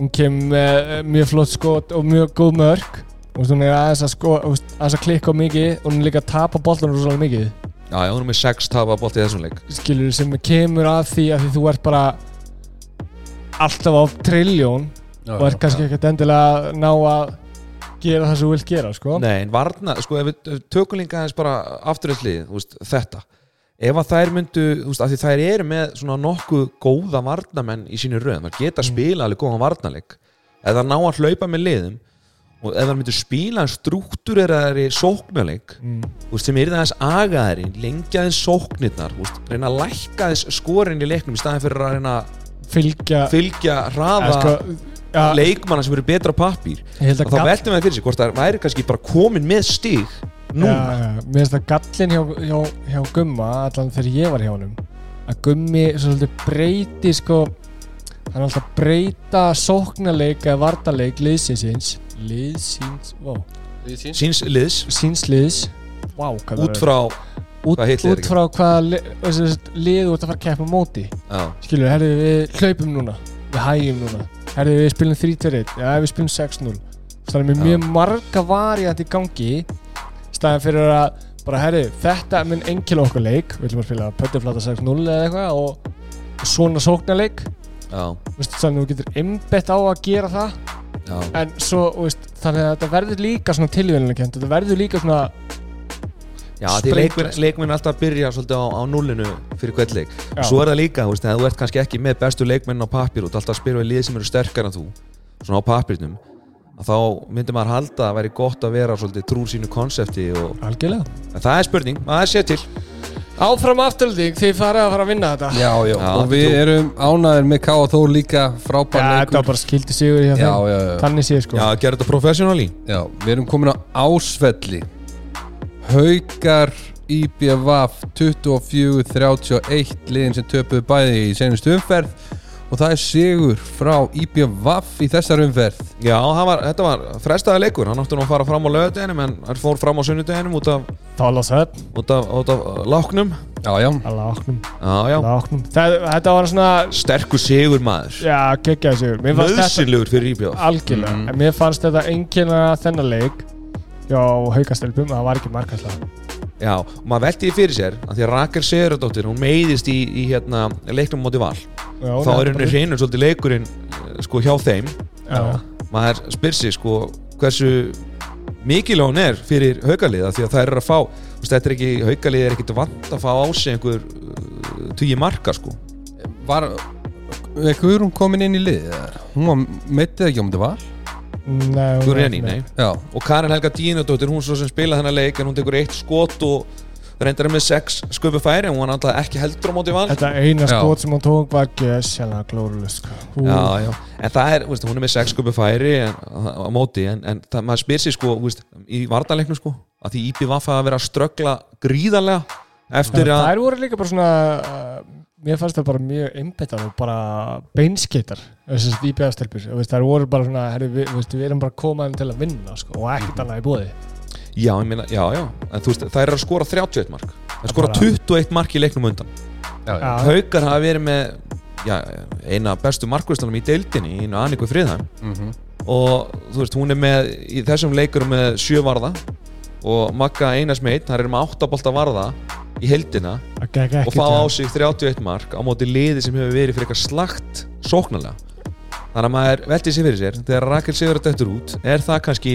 hún kemur með eh, mjög flott skot og mjög góð mörg úst, hún er aðeins að, sko, úst, aðeins að klikka á mikið og hún er líka að tapa bollan rosalega mikið Já, já, hún er með sex tapa bótt í þessum leik skilur sem kemur að því að því þú ert bara alltaf á trilljón og ert kannski ekkert endilega að ná að gera það sem þú vilt gera sko. Nei, en varna, sko, ef við ef við tökum líka aðeins bara afturhaldslið, þú veist, þetta ef að þær myndu, þú veist, af því þær eru með svona nokkuð góða varnamenn í sínu röðum, þær geta mm. spila alveg góðan varnalik ef þær ná að hlaupa með liðum og ef þær myndu spila struktúreraðari sóknalik Mm. þú veist, sem eru þess agaðari lengja þess sóknirnar, þú veist, reyna að lækka þess skorinn í leiknum í staðin fyrir að reyna að fylgja fylgja hraða eða sko, ja, leikmanna sem eru betra á pappír ég held og þá að Gabri- veltum við fyrir sig hvort það væri kannski bara komin með stig núna Já, já, mér finnst það gallin hjá, hjá, hjá Gumma, allan þegar ég var hjá honum að Gummi svolítið breyti sko, hann er alltaf að breyta sóknarleik eða vartarleik liðsinsins liðsins, vá, síns liðs síns liðs vá, hvað út frá út, hvað heitt liðið út frá hvaða li, þessi lið þú ert að fara að keppa á móti já, skilur, herðu við hlaupum núna við hægjum núna, herðu við spilum 3-2-1 já, við spilum 6-0 þannig með Já. mjög marga variant í gangi staðan fyrir að bara herðu, þetta mun enkil okkur leik við viljum að spila pöttiflata 6-0 eða eitthvað og og svona sóknarleik já, Vistu, þannig að þú getur einbett á að gera það já, en svo, veist, þannig að þetta verður líka svona tilvíðanleikend, þetta verður líka svona já því Spreytast. leikminn leikmin alltaf byrja svolítið á, á nullinu fyrir hvert leik Já. svo er það líka, þú veist, þegar þú ert kannski ekki með bestu leikminn á pappír og þú ert alltaf að spila við lið sem eru sterkar en þú svona á pappírnum að þá myndi maður halda að væri gott að vera svolítið trúr sínu konsepti og algjörlega en það er spurning, maður sé til áfram afturölding, þið farið að fara að vinna þetta Já, já, Já, og við trú. erum ánæður með K.A. Þór líka Já, frábær þetta var leikur bara skildi sigur hjá já, þeim já, já, Þannig séð sko já, gera þetta professionally já, við erum komin á Ásvelli Haukar IBVF 24-31 liðin sem töpuðu bæði í senustu umferð og það er sigur frá IBVF í þessar umferð já, það var, þetta var frestaði leikur hann átti nú að fara fram á lögadeginum en hann fór fram á sunnudeginum út af, Þálasöfn út af, út af uh, láknum Já, já, Láknum já, já, Láknum Það, Þetta var svona sterkur sigur maður Já, geggjaði sigur Mér fannst þetta Möðsynlegur fyrir íbjóð Algjörlega Mhm. Mm. En mér fannst þetta engina þennan leik Já, haukastelpum Það var ekki markaslega Já, og maður velti því fyrir sér að því að Rakel Sigurðardóttir, hún meiðist í, í hérna, leiknum móti val Já, þá nei, er henni bara- hreinur svolítið leikurinn eh, sko hjá þeim já, maður spyr sig sko hversu mikil hún er fyrir haugaliða því að það er að fá þú veist, þetta er ekki, haugalið er ekkit vant að fá á sig einhver uh, tugi marka sko Var er Guðrún komin inn í lið Hún var meittið ekki um þetta var nei, hún er Guðrjáni, ekki með. nei Já, og Karin Helga Dínudóttir, hún svo sem spilaði þennan leik en hún tekur eitt skot og reyndar með sex sköpu færi en hún var náttúrulega ekki heldur á móti val Þetta eina Já. skot sem hún tók var gjössalega glórulust sko. Ú, já, já. en það er, veist, hún er með sex sköpu færi en, á, á móti, en, en það, maður spyr sér sko, veist, í vartaleiknum sko að því Íbi Vaffa að vera að ströggla gríðarlega eftir að Þær voru líka bara svona uh, Mér fannst það bara mjög einbettar og bara eh, beinskeitar þessast IBF-stelpur Þær voru bara svona, herri, við, við, við erum bara að koma þeim til að vinna sko, og ekkert annað í bóði já, ég meina, já, já, en þú veist, það er að skora 31 mark, það skora bara- 21 mark í leiknum undan, já, haukar hafa verið með já, eina af bestu markvistunum í deildinni, í Anniku Friðheim Mhm. og þú veist, hún er með í þessum leikur með sjö varða og Magga Einars meitt, hann er með áttabolta varða í heldina Það gekk og ekkert fá á hjá- sig 31 mark á móti liði sem hefur verið fyrir eitthvað slagt sóknarlega þannig að maður velti sér fyrir sér þegar Rakel Sigur er dættur út er það kannski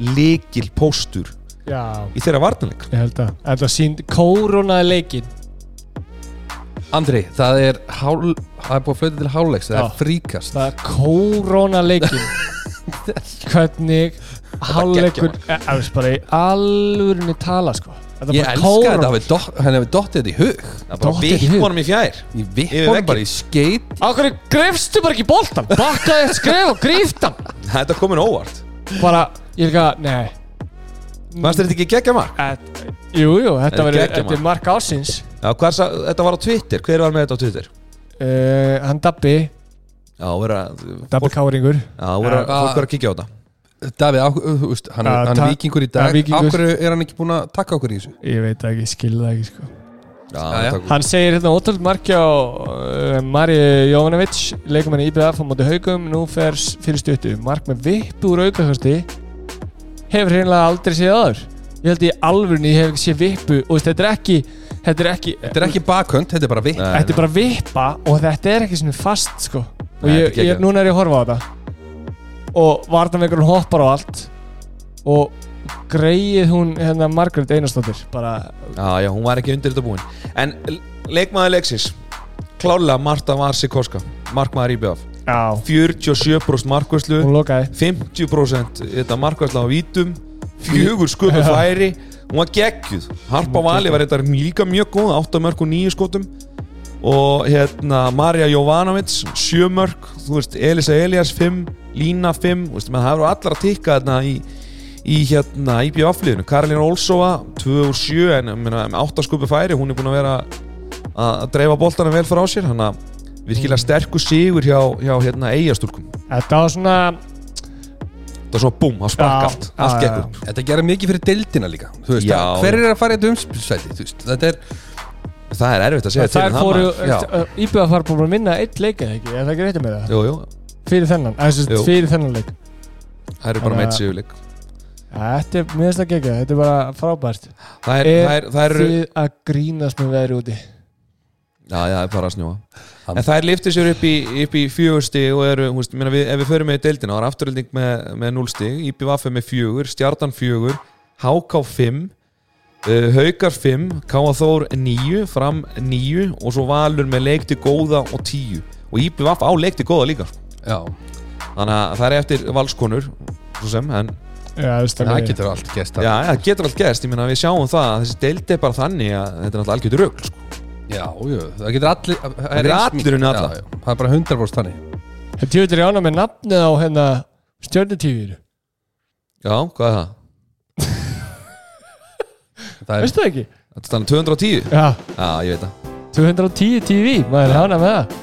líkil póstur Já, í þeirra varnarleik ég held að Þetta sínd kórunaði leikin Andri, það er hál, það er búið að flöta til hálfleiks það Já. er fríkast Það er kórunaði leikin Hvernig hálfleikur Eh, þú veist, bara í alvörunni tala sko. Þetta Ég bara elska þetta, kóróna. hafi dott- hann hefur dottið þetta í hug það bara Dottið í vitt hug. honum í fjær Ég vipp Yfir honum vegginn. bara í skeit Á hverju grefstu bara ekki boltan Bakkaði eitt skref og gríftan þetta er komin óvart Bara, ég líka, nei fannst þér þetta ekki geggja mark? Et, jú, jú, þetta Þetta er verður geggjað, þetta er maður. mark ásins Já, hvað, sa- þetta var á Twitter, hver var með þetta á Twitter? uh, Hann Dabbi, Já, vera, Dabbi fólk, Káringur já, vera, Já. fólk var að kíkja á þetta Davíð, á- þú veist, hann, Já, er- hann ta- er vikingur í Já, dag víkingur. Af hverju er hann ekki búin að taka okkur í þessu? Ég veit það ekki, skil það ekki sko. Já, Já, já. þetta- Hann segir hérna ótrúld markja á uh, Mari Jovanovic Leikumenni IBF á móti haugum Nú fer s- fyrir stuttu Mark með vippu úr aukakasti Hefur hreinlega aldrei séð aður Ég held í alvörni, ég hef ekki séð vippu Og veist, þetta er ekki Þetta er ekki, Þetta er ekki bakhönd, þetta er bara vitt Nei, Þetta er bara vippa og þetta er ekki svona fast sko Og Nei, þetta er ég, ég, geggjað. núna er ég að horfa á þetta Og vartanveikurinn hoppar á allt Og greið hún hérna Margrét Einarsdóttir Bara Já, já, hún var ekki undir þetta búin En l- leikmaður leiksins Klálega Marta var Sikoska Markmaður IBF Já 47% markvæslu Hún lokaði 50% þetta markvæsla á vítum Fjögur sköpu færi Hún var geggjuð Harpa Vali var þetta líka mjög góð 8 mörg og 9 skotum Og hérna Marja Jovanovic 7 mörg Þú veist Elisa Elias 5 Lína 5 Þú veist menn það eru allar að tikka þarna í í hérna IBF-liðinu Karolina Olsova 2 og 7 en ég meina, með 8 sköpu færi hún er búin að vera að að dreifa boltana vel frá sér hann að virkilega sterkur sigur hjá, hjá hérna eigastúrkum Þetta var svona það er svona búm, það Já, spark allt, allt já, gekk já. upp Þetta gerir mikið fyrir deildina líka Þú veist, Já. að- Hver er að fara í þetta umspilsæti? þú veist? Þetta er, það er erfitt að segja til Þær en það fóru maður- já. IBF var búin að minna eitt leik eða ekki Er það ekki reytið með það? jú, jú, Fyrir þennan eða sem sagt Jú. Fyrir þennan leik það eru bara Þannig meitt að- sigurleik Þetta er, mér finnst það geggjað, þetta er bara frábært það er, það er, Er það er, þið að grínast með veðri úti? já, já, það er bara að snjúa en það er liftir sér upp í, upp í fjögursti og eru, hú veist, minna, við, ef við förum með í deildina, það er afturölding með, með núlsti IPVF með fjögur, Stjartan fjögur HK 5 uh, Haukar 5, K.A. Þór 9 fram 9 og svo Valur með leikti góða og 10 og IPVF á leikti góða líka sko. já, þannig að það er eftir valskonur svo sem, en Já, þú veist það alveg. getur allt gæst Já, já, það getur allt gerst, ég meina við sjáum það að þessi deildi er bara þannig að þetta er náttúrulega algjörður rögl sko. Já, jú, það getur allir Það getur eins allir mikið. unnið alla. Já, já, Það er bara 100% þannig En tjóður ég ána með nafnið á hérna stjörnutífur. Já, hvað er það? Það er, Veistu það ekki? Þetta er þannig 210? Já, Já, ég veit það 210 TV, maður er ána með það.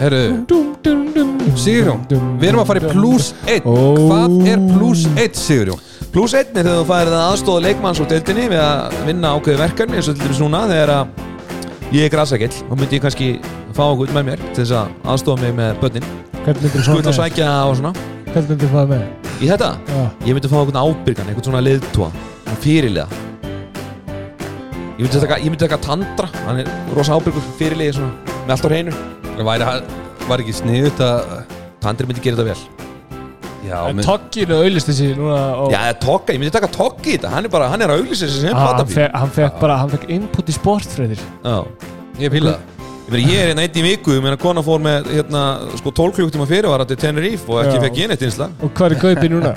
herru, Dum, dum, dum, dum, Sigurjón dum, Við erum að fara í dum, plus 1 Ó. Hvað er plus 1, Sigurjón? Plus 1 er þegar þú færið að aðstóða leikmanns úr deildinni við að vinna ákveði verkefni eins og til dæmis núna þegar að ég er grasagill þá myndi ég kannski fá okkur með mér til þess að aðstóða mig með börnin Hvern myndir þú Skull og fá með? sækja og svona Hvern myndir þú fá með? Í þetta? Já, Ég myndi fá okkur ábyrgan, einhvern svona leiðtúa fyrirlega Ég myndi taka, ég myndi taka Tandra, hann er rosa ábyrgur fyrirlega svona, með allt á hreinu Væri, hann- var ekki sniðut að Tandri myndi gera þetta vel Já, En menn- Togginu auðlist þessi núna og Já, Tokka, ég myndi taka Tokki í þetta Hann er bara, hann er að auglýsa þessi sem Ah, hann, platafíl fekk, hann fekk bara, hann fekk input í sportfröðir Já, ég píla það ég meina, ég er hérna einn eitt í viku Ég meina, kona fór með, hérna, sko 12 klukktíma fyrirvara til Tenerife og ekki Já. fekk ég neitt einsla og hvað er kaupið núna?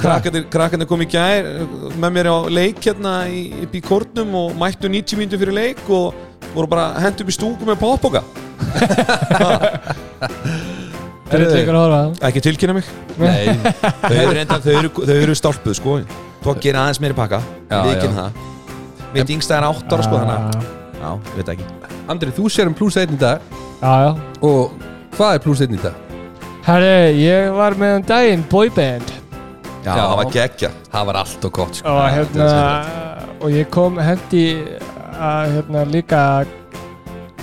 Krakkarnir krakkarnir kom í gær eh, með mér á leik hérna í, upp í kórnum og mættu 90 mínutur fyrir leik og voru bara hendt upp í stúku með poppoka Það er eitthvað að horfa á það. Ekki tilkynna mig Nei, þau eru, enda, þau eru, þau eru stálpuð sko Tók er aðeins meiri pakka Já, Líkin já. það Mitt yngsta er 8 ára sko þannig að- Já, ég veit ekki Andri, þú sér um pluss einn í dag Já, Ah, já og hvað er pluss einn í dag? Herri, ég var með um daginn boyband Já, Já. það var geggja Það var allt og gott sko. og hérna og ég kom hendi að hérna líka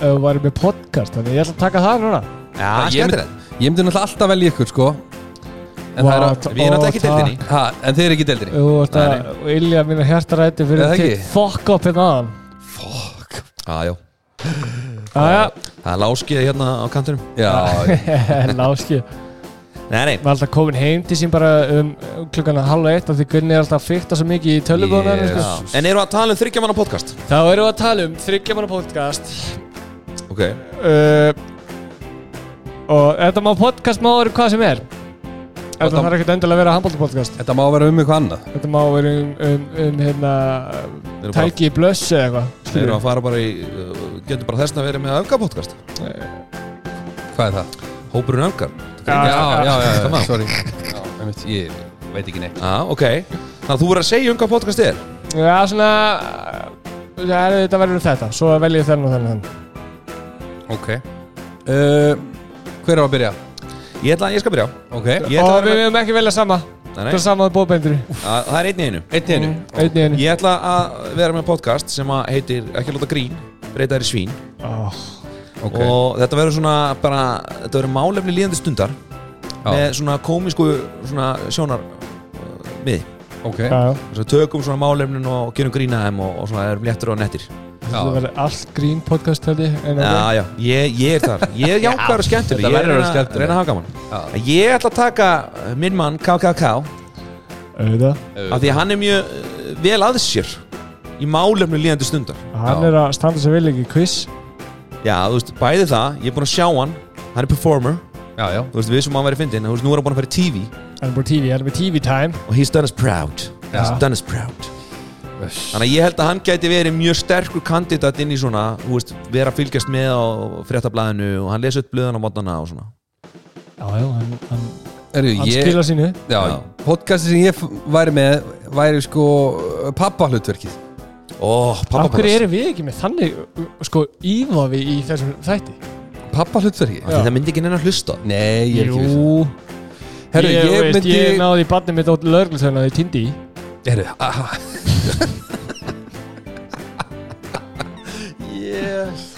uh, var með podcast þannig ég ætla að taka það núna Já, ég, myndi, skemmtir ég myndi náttúrulega alltaf velja ykkur sko En það er að Við erum alltaf ekki deildinni ha, En þeir eru ekki í deildinni Þú veist að Ilja mínu hjartaræti Er það fyrir ekki? þitt fokk upp hérna aðan Já, Ah, já Jæja, Það er láskið hérna á kantinum Ah. Já, Eh, láski Nei, nei Við alltaf komin heim til sín bara um klukkana halv eitt af því Gunni er alltaf að fykta svo mikið í sko. tölubónu Yes. yes. Já. En eru að tala um þryggjamanna podcast? Þá erum við að tala um þryggjamanna podcast Ok uh, Og þetta má podcast má vera hvað sem er Þetta Þetta- þarf ekkert endilega að vera handbóltu podcast þetta má vera um eitthvað annað Þetta má vera um, um, um hérna Við erum bara- Tæki í blössu eða Þeir eru eitthvað að fara bara í uh, Getur bara þessna að vera með öfgar podcast Hvað er það? Hópurinn öfgar Já, já, já, Þetta má. já sorry já, einmitt, Ég veit ekki neitt Já, Ah, ok Þannig að þú verður að segja um hvað podcast er Já, svona uh, ja, Þetta verður um þetta, svo vel ég þennan og þennan Ok uh, Hver er að byrja? Ég ætla að ég skal byrja Ok Ég ætla Og að við vera höfum ekki velja sama Nei, Það nei, er sama að bóbendur að- Það er einn í einu Einn í einu Einn í einu Ég ætla að vera með podcast sem að heitir Ekki láta grín, breyta þér í svín oh. Ok Og þetta verður svona bara Þetta verður málefni líðandi stundar Með svona komísku svona sjónar uh, mið Ok Já, já Þess að tökum svona málefnin og gerum grína þeim og, og svona erum léttur og nettir Það Já. verður allt grín podcast held ég en ok. Já, já, ég, ég er þar Ég er jákvæður og skemmtur Ég þetta er verður að vera reyna- skemmtilegt. reyna að hafa gaman Já. Ég ætla að taka uh, minn mann KKK Auðvitað af Eh, því að hann er mjög uh, vel að sér í málefni líðandi stundar Hann Já. er að standa sér vel ekki í quiz já, þú veist, bæði það, ég er búinn að sjá hann hann er performer, Já, já þú veist, við sem hann væri fyndin þú veist, nú er hann búinn að fara í TV Hann er bara TV, hann er með TV time og he's done us proud he's Já. done us proud þannig að ég held að hann gæti verið mjög sterkur kandidat inn í svona, þú veist, vera að fylgjast með á fréttablaðinu og hann lesa upp blöðan á mótana og svona Já, já, hann, hann, Heru, hann ég, skilar sínu já, Já. Podcasti sem ég f- væri með væri sko pappa hlutverkið ó, pappa Af hverju erum við ekki með þannig uh, sko ívafi í þessum þætti? Pappa hlutverkið? það myndi ekki neina hlusta Nei, ég er ekki viss um Jú, það. Herru, ég, ég, veist, myndi ég náði í barnið mitt á lögreglutæðinu að ég tindi í Herru, aha Yes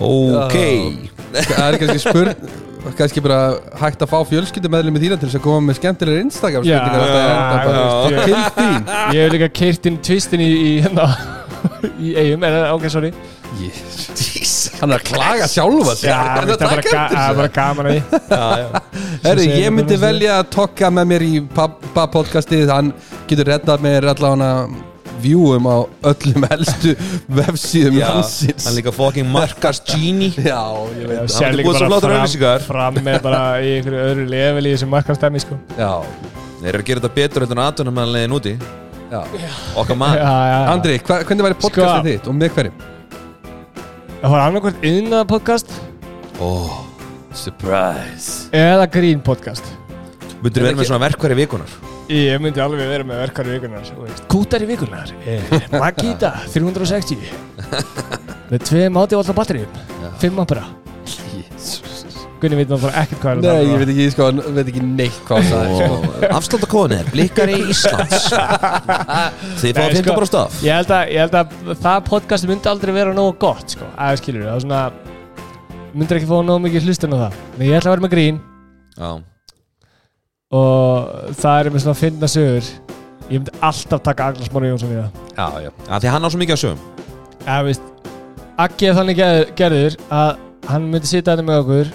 ok, Það er kannski spurn kannski bara hægt að fá fjölskyldum meðlum í þína til þess að koma með skemmtilegar Instagram Já, spurningar alltaf að enda bara já, já. til þín Ég hef líka keirt inn tvistin í, í hérna í eigum, en ok, sorry yes. Hann er að klaga sjálfa sig Já, Hann er að þetta er bara, taka ga eftir að þessu. bara gaman að því Herru, segir ég hann myndi bara- velja að tokka með mér í pappa podcastið hann getur reddað mér allavega vjúum á öllum helstu vefsíðum já, hansins hann er líka fucking markast genie Já, ég veit Hann Sér er líka búið svo bara flottar fram, auglýsingar. fram með bara í einhverju öðru level í þessu markastæmi sko. Já, þeir eru að gera þetta betur en aðtunum meðan leiðin úti já okkar Já, mann já, já. Ah, Andri, hva, hvernig væri podcastið Sko. þitt og með hverjum? Það var annarkvært yðnaða podcast oh, surprise eða grín podcast Myndur vera með svona verkværi vikunar Ég myndi alveg vera með verkar í vikunar Kútar í vikunar eh, Makita 360 Með tveim átífaldar batterjum Fimm ampera Gunni veit náttúrulega ekkert hvað er Nei, ég að um. veit ekki, ég sko, ég veit ekki neitt hvað það er sko. Afsláttakóðin er blikkari Íslands Þið fá Nei, að sko- finna bara staf Ég held, að, ég held að það podcast myndi aldrei vera nógu gott sko. Æ, skilur, það er svona Myndir ekki fá nógu mikið hlustun á það Nei, ég ætla að vera með grín Já, Og það er með svona að finna sögur Ég myndi alltaf taka Agnars Mári Jónsson í það Já, já Af því að hann á svo mikið að sögum Já, veist Akki er þannig gerð- gerður að hann myndi sitja þetta hérna með okkur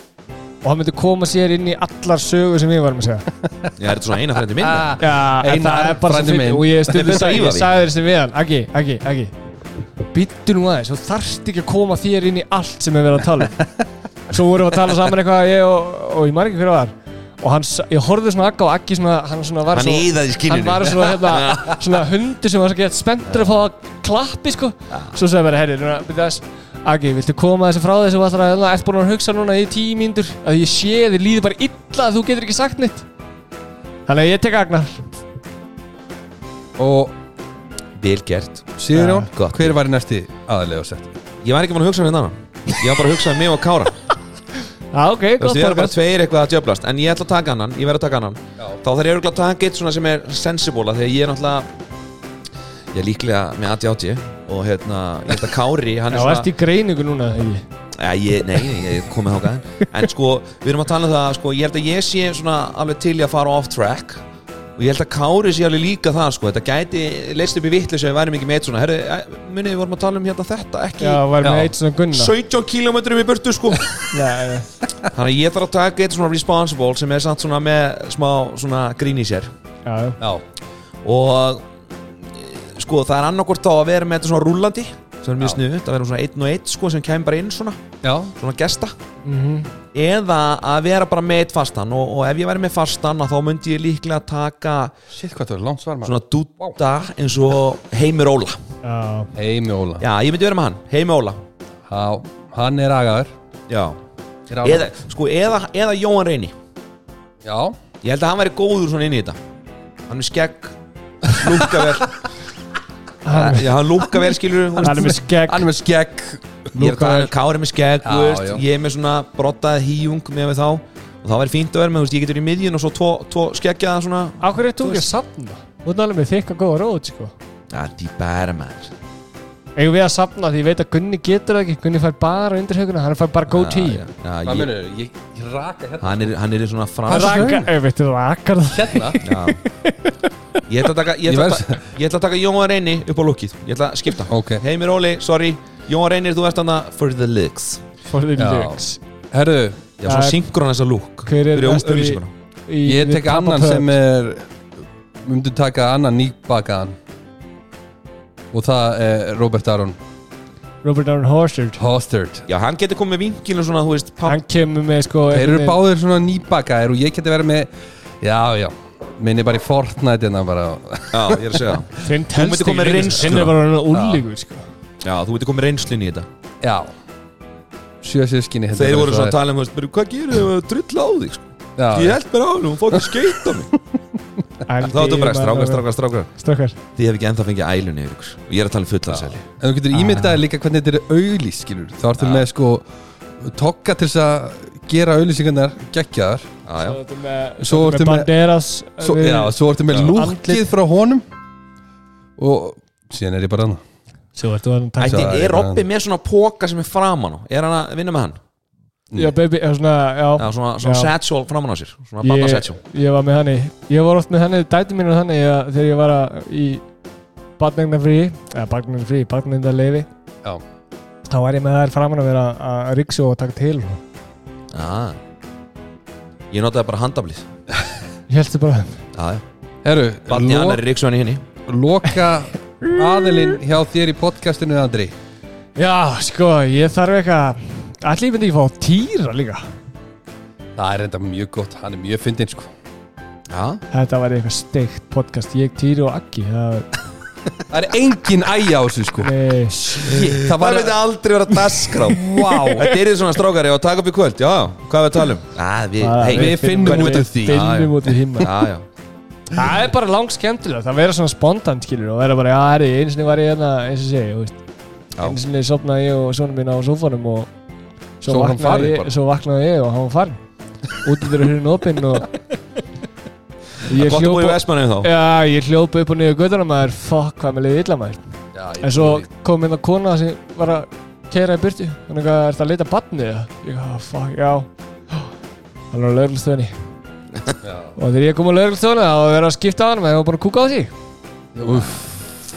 og hann myndi koma sér inn í allar sögur sem ég var með að segja Já, er þetta svona eina frendi minna? Ah, Já, en Einar, það er bara frændi svo minn. fyrir og ég stundi Þetta þetta, er ég Sævar. sagði þessi við hann Aggi, Aggi, Aggi Býttu nú aðeins, þú þarft ekki að koma þér inn í allt sem við verðum að tala um Svo vorum við að tala saman eitthvað ég og, og ég maður ekki fyrir að var og hann, sa- ég horfði svona á Agga og Aggi svona, hann svona var Hann svo iðaði í skinninu. hann var svona, hérna, svona hundur sem var svo gett spenntur að fá að klappi sko svo sagði bara, herri, núna, byrja þess Aggi, viltu koma þessu frá þessu og alltaf hérna, eftir búin að hugsa núna í tíu mínútur að ég sé þið líður bara illa að þú getur ekki sagt neitt Þannig að ég tek Agnar Og Vel gert Sigurjón, gott. hver var í næsti aðalega og sett? Ég var ekki búin að hugsa um hérna Ég var bara að hugsa um mig og Kára Já, ok, Þú veist, gott við erum bara borgað tveir eitthvað að djöblast En ég ætla að taka annan, ég verð að taka annan Þá þarf ég örugglega að taka eitt svona sem er sensible af Þegar ég er náttúrulega Ég er líklega með ADHD Og hérna, ég held að Kári hann Já, er ertu í greiningu núna, ekki? ja, ég, Nei, nei, ég kom með þákaðin En sko, við erum að tala um það sko, Ég held að ég sé svona alveg til í að fara off track Og ég held að Kári sé alveg líka það sko. Þetta gæti leist upp í vitlu sem við værum ekki með eitt svona Herru, eh, munið, við vorum að tala um hérna þetta Ekki Já, var með Já. eitt svona gunna 17 kílómetrum í burtu sko Já, já. Þannig að ég þarf að taka eitt svona responsible sem er samt svona með smá svona grín í sér já, já. Já, og eh, sko það er annarkvort þá að vera með þetta svona rúllandi sem er mjög Já. sniðut, að vera svona einn og einn sko sem kemur bara inn svona, já, svona gesta Mm eða að vera bara með eitt fastan og, og ef ég væri með fastan að þá myndi ég líklega taka shit hvað það var langt svar maður svona dúta eins og Heimir Óla já. Heimi Óla Já, ég myndi vera með hann, Heimir Óla Já, hann er agaður Já, Er agaður. eða, sko, eða, eða Jóhann Reyni Já, Ég held að hann væri góður svona inn í þetta Hann er skegg Lúka vel Já, hann lúka vel skilur Hann er með skegg hann er með skegg Ég er að tala um Kári með skegg Já, þú veist, já. Ég er með svona brottað híjung með við þá Og það væri fínt að vera með, þú veist, ég getur í miðjun Og svo tvo, tvo skeggjaða svona Á hverju ert þú ekki að safna? Þú ert alveg með þykka góða rót, sko Það er því bæra maður Eigum við að safna því ég veit að Gunni getur það ekki Gunni fær bara undir höguna, hann fær bara góð Já, tíu já, Hvað ég- munir, ég, ég raka hérna Hann er, hann er í svona Hann frans Hvað er rakar, það? ef veitu þú rakar það Hérna Já. Ég ætla að taka Ég Ég ætla að, verð- ta- ég ætla að taka Jóhann Reyni upp á lukkið Ég ætla að skipta Ok. Heimir Óli, sorry Jóhann Reynir, þú ert hann for the looks For the Já. lyrics Herðu, Já, svo Það er- synkron þessa lúk Hver er Fyrir næstur í- auglýsinguna. Í- ég við tek Papa annan Pub. sem er Við myndum taka annan nýbakaðan Og það er Robert Aron Robert Downey Horsard Hostert Já, hann getur komið með vinkilum svona, þú veist pop, Hann kemur með, sko Þeir eru einhvern veginn- báðir svona nýbakaðir og ég geti verið með Já, já Minni bara í Fortnite hérna bara Já, ég er að segja það. Þinn myndir koma telst ekki með lengur, reynsluna. sko. Þinn er bara hann úlíkur, sko Já, þú getur komið með reynslunni í þetta Já Sjö sískinni Þeir voru svona að tala um, þú veist, "Byrju, hvað gerir þau að drull á þig? sko? Ég held bara á hann, hún fór ekki að skeita mig En Þá þú bara, ég- strákar, strákar, strákar Strákar Þið hef ekki ennþá fengið ælunni yfir ykkur Og ég er að tala um fullarsæli En þú getur ímyndaði líka hvernig þetta er auðlýs skilur Þá ertu með sko Tokka til þess að gera auðlýsingarnar geggjaðar Já, já, Svo ertu með, Svo ertu með- Banderas svo, við- Já, svo ertu með Já. lúkið Andlit. frá honum Og síðan er ég bara hann Svo ertu að taka Ætti, það er er- Robby með svona póka sem er framan á? Er hann að vinna með hann? Já, baby, eða svona, já, Já, svona, svona Já. sexual framan á sér Svona barna sexual ég, ég var með hann í Ég var oft með hann í dæti mínu þannig að þegar ég var að, í barnegna frí eða barnegna frí, barnegna leifi Já. þá var ég með þær framan að vera að ríksu og taka til og Já Ég notaði bara handaflið ég held þið bara Já, já Herru, Barni hann er lo, ríksvæni henni loka aðilinn hjá þér í podcastinu Andri Já, sko, ég þarf eitthvað Allir ég myndi ekki fá týra líka Það er enda mjög gott, hann er mjög fyndinn sko Já, Þetta var eitthvað steikt podcast Ég, týri og aggi Það var, Það er engin æja á þessu sko nei, Shit, Það var myndi aldrei vera dagskrá wow. Þetta er því svona strákari og taka upp í kvöld Já, hvað er við að tala um? Já, við, það- hey, við finnum hvernig- út úr því. Já, já. Finnum út úr himma Já, já Það er bara langt skemmtilegt að vera svona spontant skilur og vera bara, já, herri, einu sinni var ég hérna eins og segi, þú veist Já. einu sinni sopnaði ég og sonum mín á sófanum og svo, Svo var hann farinn vaknaði, ég, bara. svo vaknaði ég og hann var farin út í þeirra hurinn opinn og ég Gott að hljóp búið í og- Vestmanni þá Já, ég hljóp upp og niður göttuna maður, fuck, hvað með liðið illa maður En svo kom hérna kona sem var að keira í burtu Þannig að er þetta að leita að batni eða? Ég að fuck, já Hann var á lögreglstöðinni Og þegar ég kom á lögreglstöðinni þá var verið að skipta á hann Þegar ég var búin að kúka á því Uff,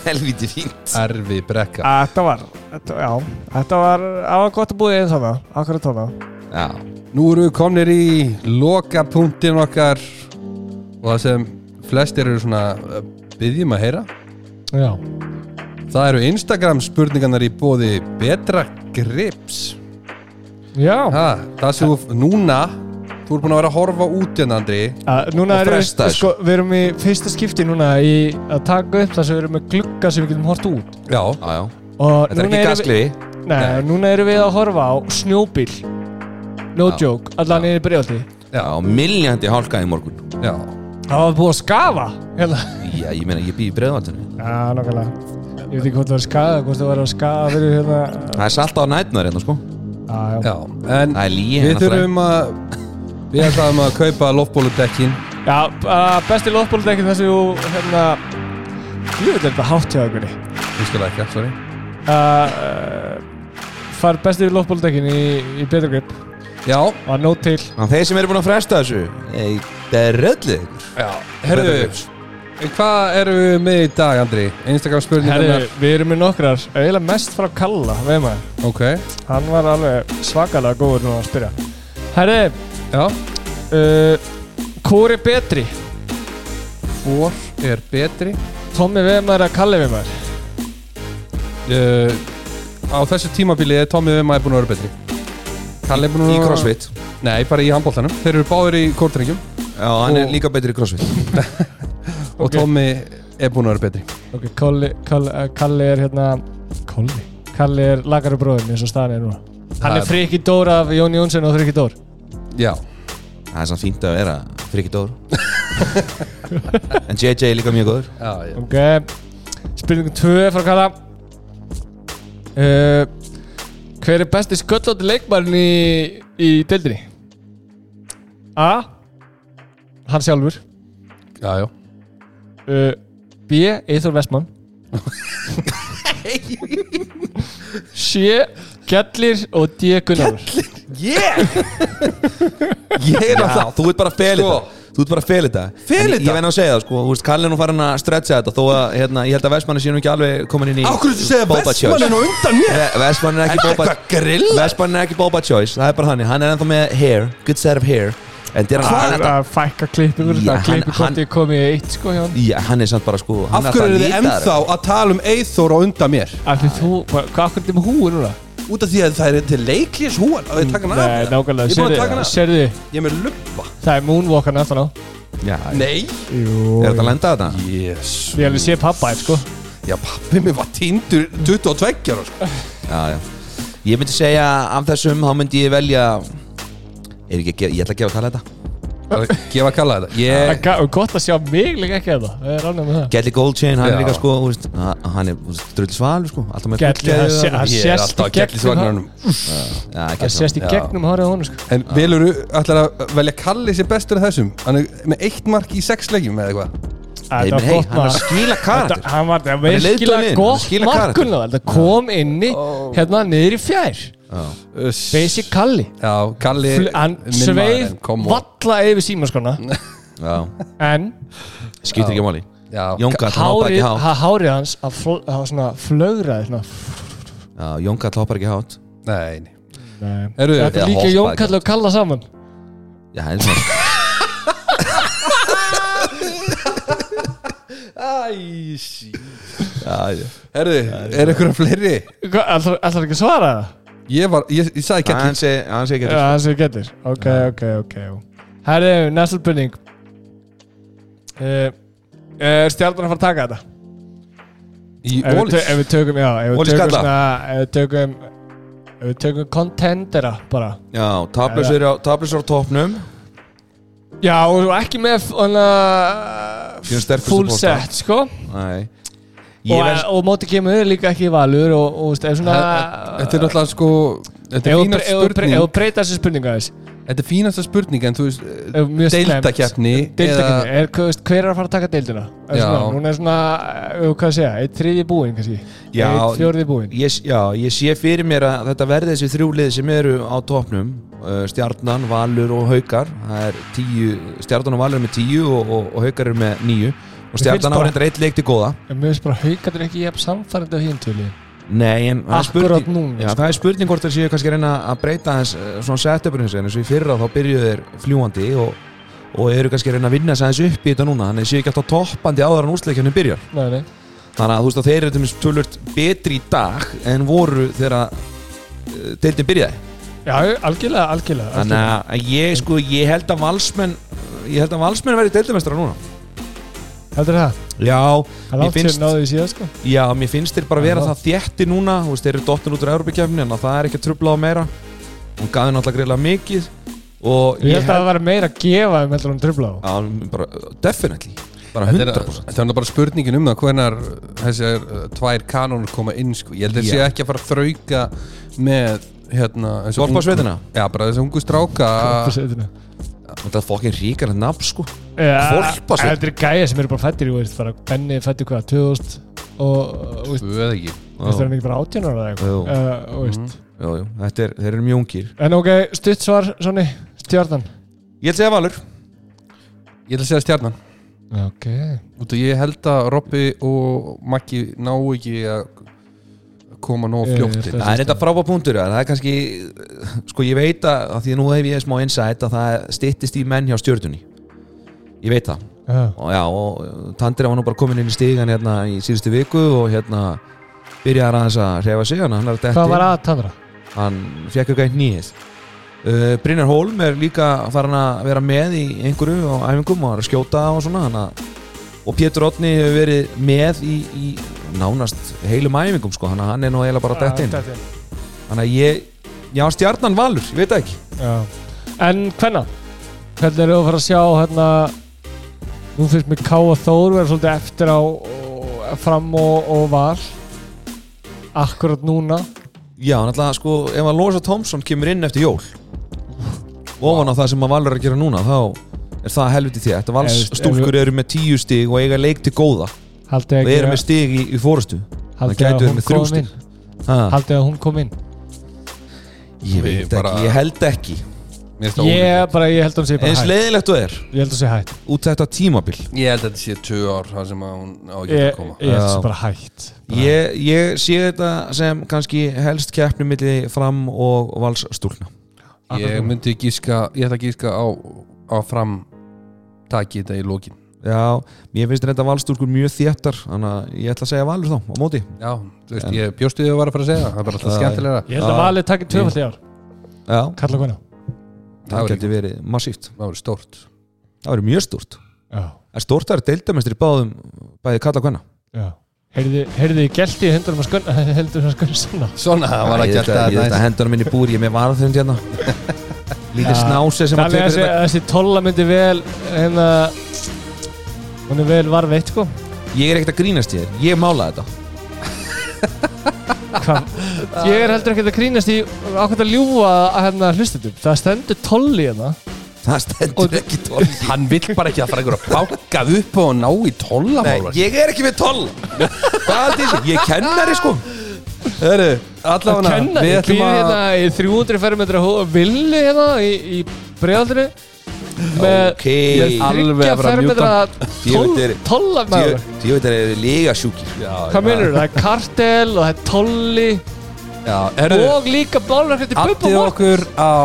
Helviti fínt erfi brekka Þetta var, þetta, já Þetta var, það var gott að búa einn þannig Akkurat þannig Já Nú erum við komnir í lokapunktin okkar og það sem flestir eru svona eh, byggjum að heyra Já, Það eru Instagram spurningarnar í bóði Betra Grips já. ha, Það sem þú, núna þú ert búin að vera að horfa út en Andri Að, núna Og erum fresta við, þessu. sko, við erum í fyrsta skipti núna í að taka upp það sem við erum með glugga sem við getum hort út Já, Já, já. Og Þetta er núna ekki erum við- gaskliði Nei, núna erum við að horfa á snjóbíl No Já. joke, allan er í breyfaldi Já, miljandi hálka í morgun já Það var búið að skafa hérna. Já, ég meina, ég býð í breiðvaldinu Já, nákvæmlega Ég veit ekki hvort það var að skafa, hvort það var að skafa fyrir hérna Það er salt á nætnar hérna, sko Já, já. Já, en Það er lí við hérna, þurfum að við ætlaðum að kaupa loftbóludekkin já að besti loftbóludekkið þessu hérna Ég veit þetta hátt hjá okkur Ég skal ekki, sorry Uh, Far besti loftbóludekkin í, í betra grip Já, og að nót til Þannig að þeir sem eru búin að fresta þessu Ei, það er röllið já, herðu Hvað eru við með í dag, Andri? Instagram spurningarnar Herri, við erum með nokkrar, eiginlega mest frá Kalla, veið maður Ok, Hann var alveg svakalega góður nú að spyrja Herri, já uh, hvor er betri? Hvor er betri? Tommi Vemar að Kalli Vemar Uh, á þessu tímabili er Tommy Vema er búin að vera betri Kalli er búin að Í vera crossfit Nei, bara í handbóltanum Þeir eru báðir í kórtrengjum Já, hann Og- er líka betri í crossfit Og Ok. Tommy er búin að vera betri Ok, Kalli, Kalli, eh, Kalli er hérna Kalli? Kalli er lagari bróðum eins og staðan er núna Hann Það- er Friki Dór af Jón Jónsson og Friki Dór Já, Það er samt fínt að vera frikið dór En JJ er líka mjög góður já, já. Ok, spurning 2 frá Kalla uh, Hver er besti sköllóti leikmann í, í deildinni? A Hann sjálfur já, já. uh, B. Eithor Vestmann C. Gjallir og D. Gunnar Ég er að það Þú ert bara að feli Sko. þetta Þú ert bara að feli þetta Feli En ég- þetta? Ég venn að segja það, sko Þú veist, Kalli er nú farin að stretcha þetta Þó að, hérna, ég held að Vestmanni séu nú ekki alveg komin inn í Boba Choice. og undan mér? Ve- Vestmann er ekki Boba grill? Vestmann er ekki Boba Choice Það er bara þannig Hann er ennþá með hair Good set of hair En Dylan- hann er að fækka klippingur Já, þetta hann- hann- klippinkorti komið í eitt sko hjá hann Já, hann er samt bara sko hann er alltaf Af að hverju eru þið nýta ennþá þetta. að tala um Eithor og undan mér? af því þú, hva- hvað akkur þetta með húi núna? Út af því að það er til leiklís húan að þið taka hana Nei, af Ég nákvæmlega, er búin að taka sérðu, hana af sérðu Ég er með lumpa það er moonwalkan aftan á Já, Nei Jú, er þetta að lenda þetta? Yes ég alveg sé pappa þér sko Já, pappi mér var tindur 22 ára sko Já, já Ég myndi segja af þessum þá myndi ég velja Er ekki að gefa, ég ætla að gefa að kalla þetta sko. Gefa kalla þetta Það Ég er ga- gott að sjá mig líka ekki þetta það er ánægð með það Gelli Goldchain, hann Já. er líka sko þú veist, hann- Hann er drull svalur sko Alltaf með Gelli, það sé- það Ég er sést alltaf í að gætli gegnum svagnarunum Já, það Gelli sést í Já. gegnum hárið á honum sko En velur þú ætlar að velja Kalli sér bestur af þessum Hann er með eitt mark í sex leikjum eða eitthvað Nei, Þetta menn, var hey, gott hann er að maður skýla Þetta- karakter hann var það er leiðtoginn virkilega inn, hann gott skilar karakter. markun þetta kom inni hérna niður í fjær basic Kalli Já, Kalli Fl- hann minn maður, sveif en kom og- valla yfir símaskona Já, en skýtir ekki máli Já, Jóngat, hann hoppar hárið ekki hátt ha- hárið hans að fl- að svona flögraði svona Já, Jóngat hoppar ekki hátt Ka- Nei, nei Eru, Heyrðu, þetta eða er líka hoppa Jón ekki. Kall og Kalla saman Já, hann er svona Æsí Já, já Herðu, er eitthvað fleiri? Hva- ætlar ætlar ekki að svara það? Ég var, ég, ég sagði Hann Kalli segi, hann segi Já, Gelli það sem getur Ok, ok, ok Herri, næsta spurning uh, Er stjarnan að fara að taka þetta? Í Ef við, tö- Ólís ef við tökum, já Ef við Wallis tökum, Kalla. svona, ef við tökum Ef við tökum contendera bara Já, tablusur á, tablusur á topnum Já, og ekki með hana, Síðan sterkustu Full bolta. set, sko Nei Ég Og, e- verð og móti kemur líka ekki í valur Og, og veist, ef svona Þetta er náttúrulega sko Þetta Ef er þú fínast bre- ef þú bre- ef þú spurning breyta þessu spurninga þess Þetta er fínasta spurning En þú veist Ef Eh, mjög slæmt. Deildakeppni Deildakefni, er, hvað veist, hver er að fara að taka deildina? Er Já. Svona, hún er svona, eh, hvað að segja, eitt þriði búinn kannski Já. Eitt fjórði búinn Ég, já, ég sé fyrir mér að þetta verði þessi þrjúlið sem eru á topnum uh, Stjarnan, Valur og Haukar það er tíu, Stjarnan og Valur er með tíu og, og, og Haukar er með níu og finnst Stjarnan á bara- reyndar eitt leik til góða En mér finnst bara haukandur ekki jafn samfærandi á hinn tölu Nei, en það er Akkurat spurning- núna, Já, sko. það er spurning hvort það séu kannski að reyna að breyta hans svona setupinu hans eins og í fyrra þá byrjuðu þeir fljúandi og, og eru kannski að reyna að vinna sig aðeins upp í þetta núna þannig að þeir séu ekki alltaf toppandi áður en úrsleikjunni byrjar Nei, nei. þannig að þú veist að þeir eru til dæmis tölvöld betri í dag en voru þegar eh, deildin byrjaði Já, algjörlega, algjörlega, algjörlega. þannig að ég sko, ég held að valsmenn ég held að valsmenn verði deildimestrar núna Heldur það? Já, Það er Mér langt sér finnst- náðu í síðan, sko. já, mér finnst þeir bara vera Já. það þétti núna þú veist, þeir eru dottin út úr Európa-kefni en að það er ekki að trubla á meira hún gaði náttúrulega greiðlega mikið og Ég held að það var meira að gefa um heldur hún trubla á. Já, bara, definitely bara Þetta er, 100% þetta er nú bara spurningin um það hvenar þessar uh, tvær kanónur koma inn sko. ég held að Já. yeah. sé ekki að fara að þrauka með hérna þessa ungu- Sorparsveitina? já bara þessu ungu stráka Ah. Hvolpasveitina. Þetta er fokkin ríkar en nafn sko Hvolpasveitina. Eh, Þetta er gæja sem eru bara fættir í, þú veist, bara Benni fættir hvað, 2000 og, þú veist, Guð ekki þú veist, er hann ekki bara 18 ára eða Jú. Mhm. eitthvað, Eh, þú veist. Jú, jú, þetta er, þeir eru mjög ungir En ok, stutt svar, Sonni, stjarnan. Ég held segja Valur ég ætla að segja stjarnan Ok. út og ég held að Robby og Maggi ná ekki að koma nóg Ég- ég fljótt ætla inn að- Það er þetta frábá punktur ja. Það er kannski, sko ég veit að að Því að nú hef ég smá insight að það styttist í menn hjá stjörnunni Ég veit það Já. og já, og uh, Tandri var nú bara komin inn í stígan hérna í síðustu viku og hérna byrjaði aðeins að hrefa sig hann, hann er detti, Hvað var að Tandra? hann fekk eitthvað eitt nýið uh, Brynjar Hólm er líka farin að vera með í einhverju og æfingum og er að skjóta og svona hann að og Pétur Otni hefur verið með í, í nánast heilum æfingum sko, hann, hann er nú eiginlega bara dætt inn inn. þannig að ég, já stjarnan valur ég veit það ekki, Já. En hvenna? Hvernig eru þú að fara að sjá hérna Nú finnst mér Ká og Þór vera svolítið eftir á og- fram og, og var Akkurat núna já náttúrulega sko ef að Losa Thompson kemur inn eftir jól ofan á það sem að Valur er að gera núna þá er það helviti því þetta Vals Ef- ef- stúlkur eru með tíu stig og eiga leik til góða Haldið og að, eru með stig í, í fórustu það haldið gætu að verið hún með þrjú kom stig. inn Haldið að hún kom inn ég Við veit bara- ekki, ég held ekki Mér finnst það Ég bara, ég held að hún sé bara eins hætt leiðilegt þú er Ég held að hún sé hætt út þetta tímabil ólíklegt. ég held að þetta sé tvö ár þar sem að hún á ekki að Ég, koma ég held að hún Já. sé bara hætt ég, ég sé þetta sem kannski helst keppnum milli fram og Vals stúlna ég myndi gíska ég ætla að gíska á, á fram taki þetta í lókin já, mér finnst þetta Vals stúlkur mjög þéttar þannig að ég ætla að segja Valur þá á móti já, þú veist, ég bjóstu því að var að fara að segja það það er bara alltaf Já. skemmtilegra Ég held að Já. valið takkir tvöfald í ár já, Kalla hvenna Það það væri- getur verið massíft það voru stórt það verið mjög stúrt Já, stúrt er deildamestri báðum bæði kalla hvenna já Heyrði, heyrði, gelti í hendurum að skönna Hendurum að skönna sanna Svona, það var Ég ekki þetta, alltaf ég þetta næst hendur minni búr, ég er með varðhund hérna Lítið Já. snási sem að Þannig tekur að þessi, þetta þessi tolla myndi vel hérna hún er vel varveitt sko Ég er ekkert að grínast í þér, ég mála þetta Hva? Ah. ég er heldur ekkert að grínast í ákveð að ljúa að hérna hlustutum það stendur tolli hérna Það stendur ekki toll Hann vill bara ekki að fara ykkur að báka upp og ná í Nei, tóllamál ég er ekki með toll Hvað aldrei, ég er kennari sko Hörru, allavega kenna, Við ég býð ætlum að hérna í 300 fermetra hó- villu hérna í, í bregaldri með Ok, alveg að 30 fara að fermetra Djöfull er- tolla Djö- maður djöfull er líga sjúkir hvað meinur það er kartel og það er tolli Já, hörru og líka bálverkvætti bubba Attið Morgan. okkur á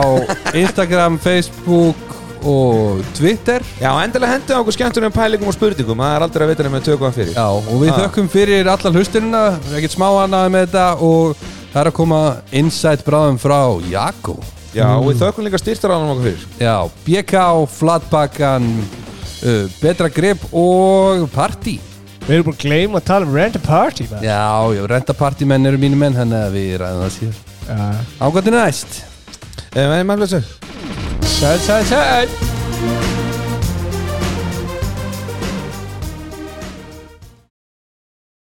Instagram, Facebook og Twitter Já, endilega hendur okkur skemmtunum pælingum og spurningum Það er aldrei að vita nefnum að tökum hann fyrir Já, Ah. og við Ha. þökkum fyrir alla hlustunina Ekkert smá annaði með þetta og það er að koma insight bráðum frá Jakko Já, og við þökkum líka styrtaranum okkur fyrir Já, BK, Flatbakkan uh, Betra grip og Party við erum búin að gleyma að tala um rent a party maður. Já, já, rentapartimenn eru mínu menn þannig að við ræðum það síðan Já. Ágættinu næst Eh, Eða, með maður blessa Sæl, sæl, sæl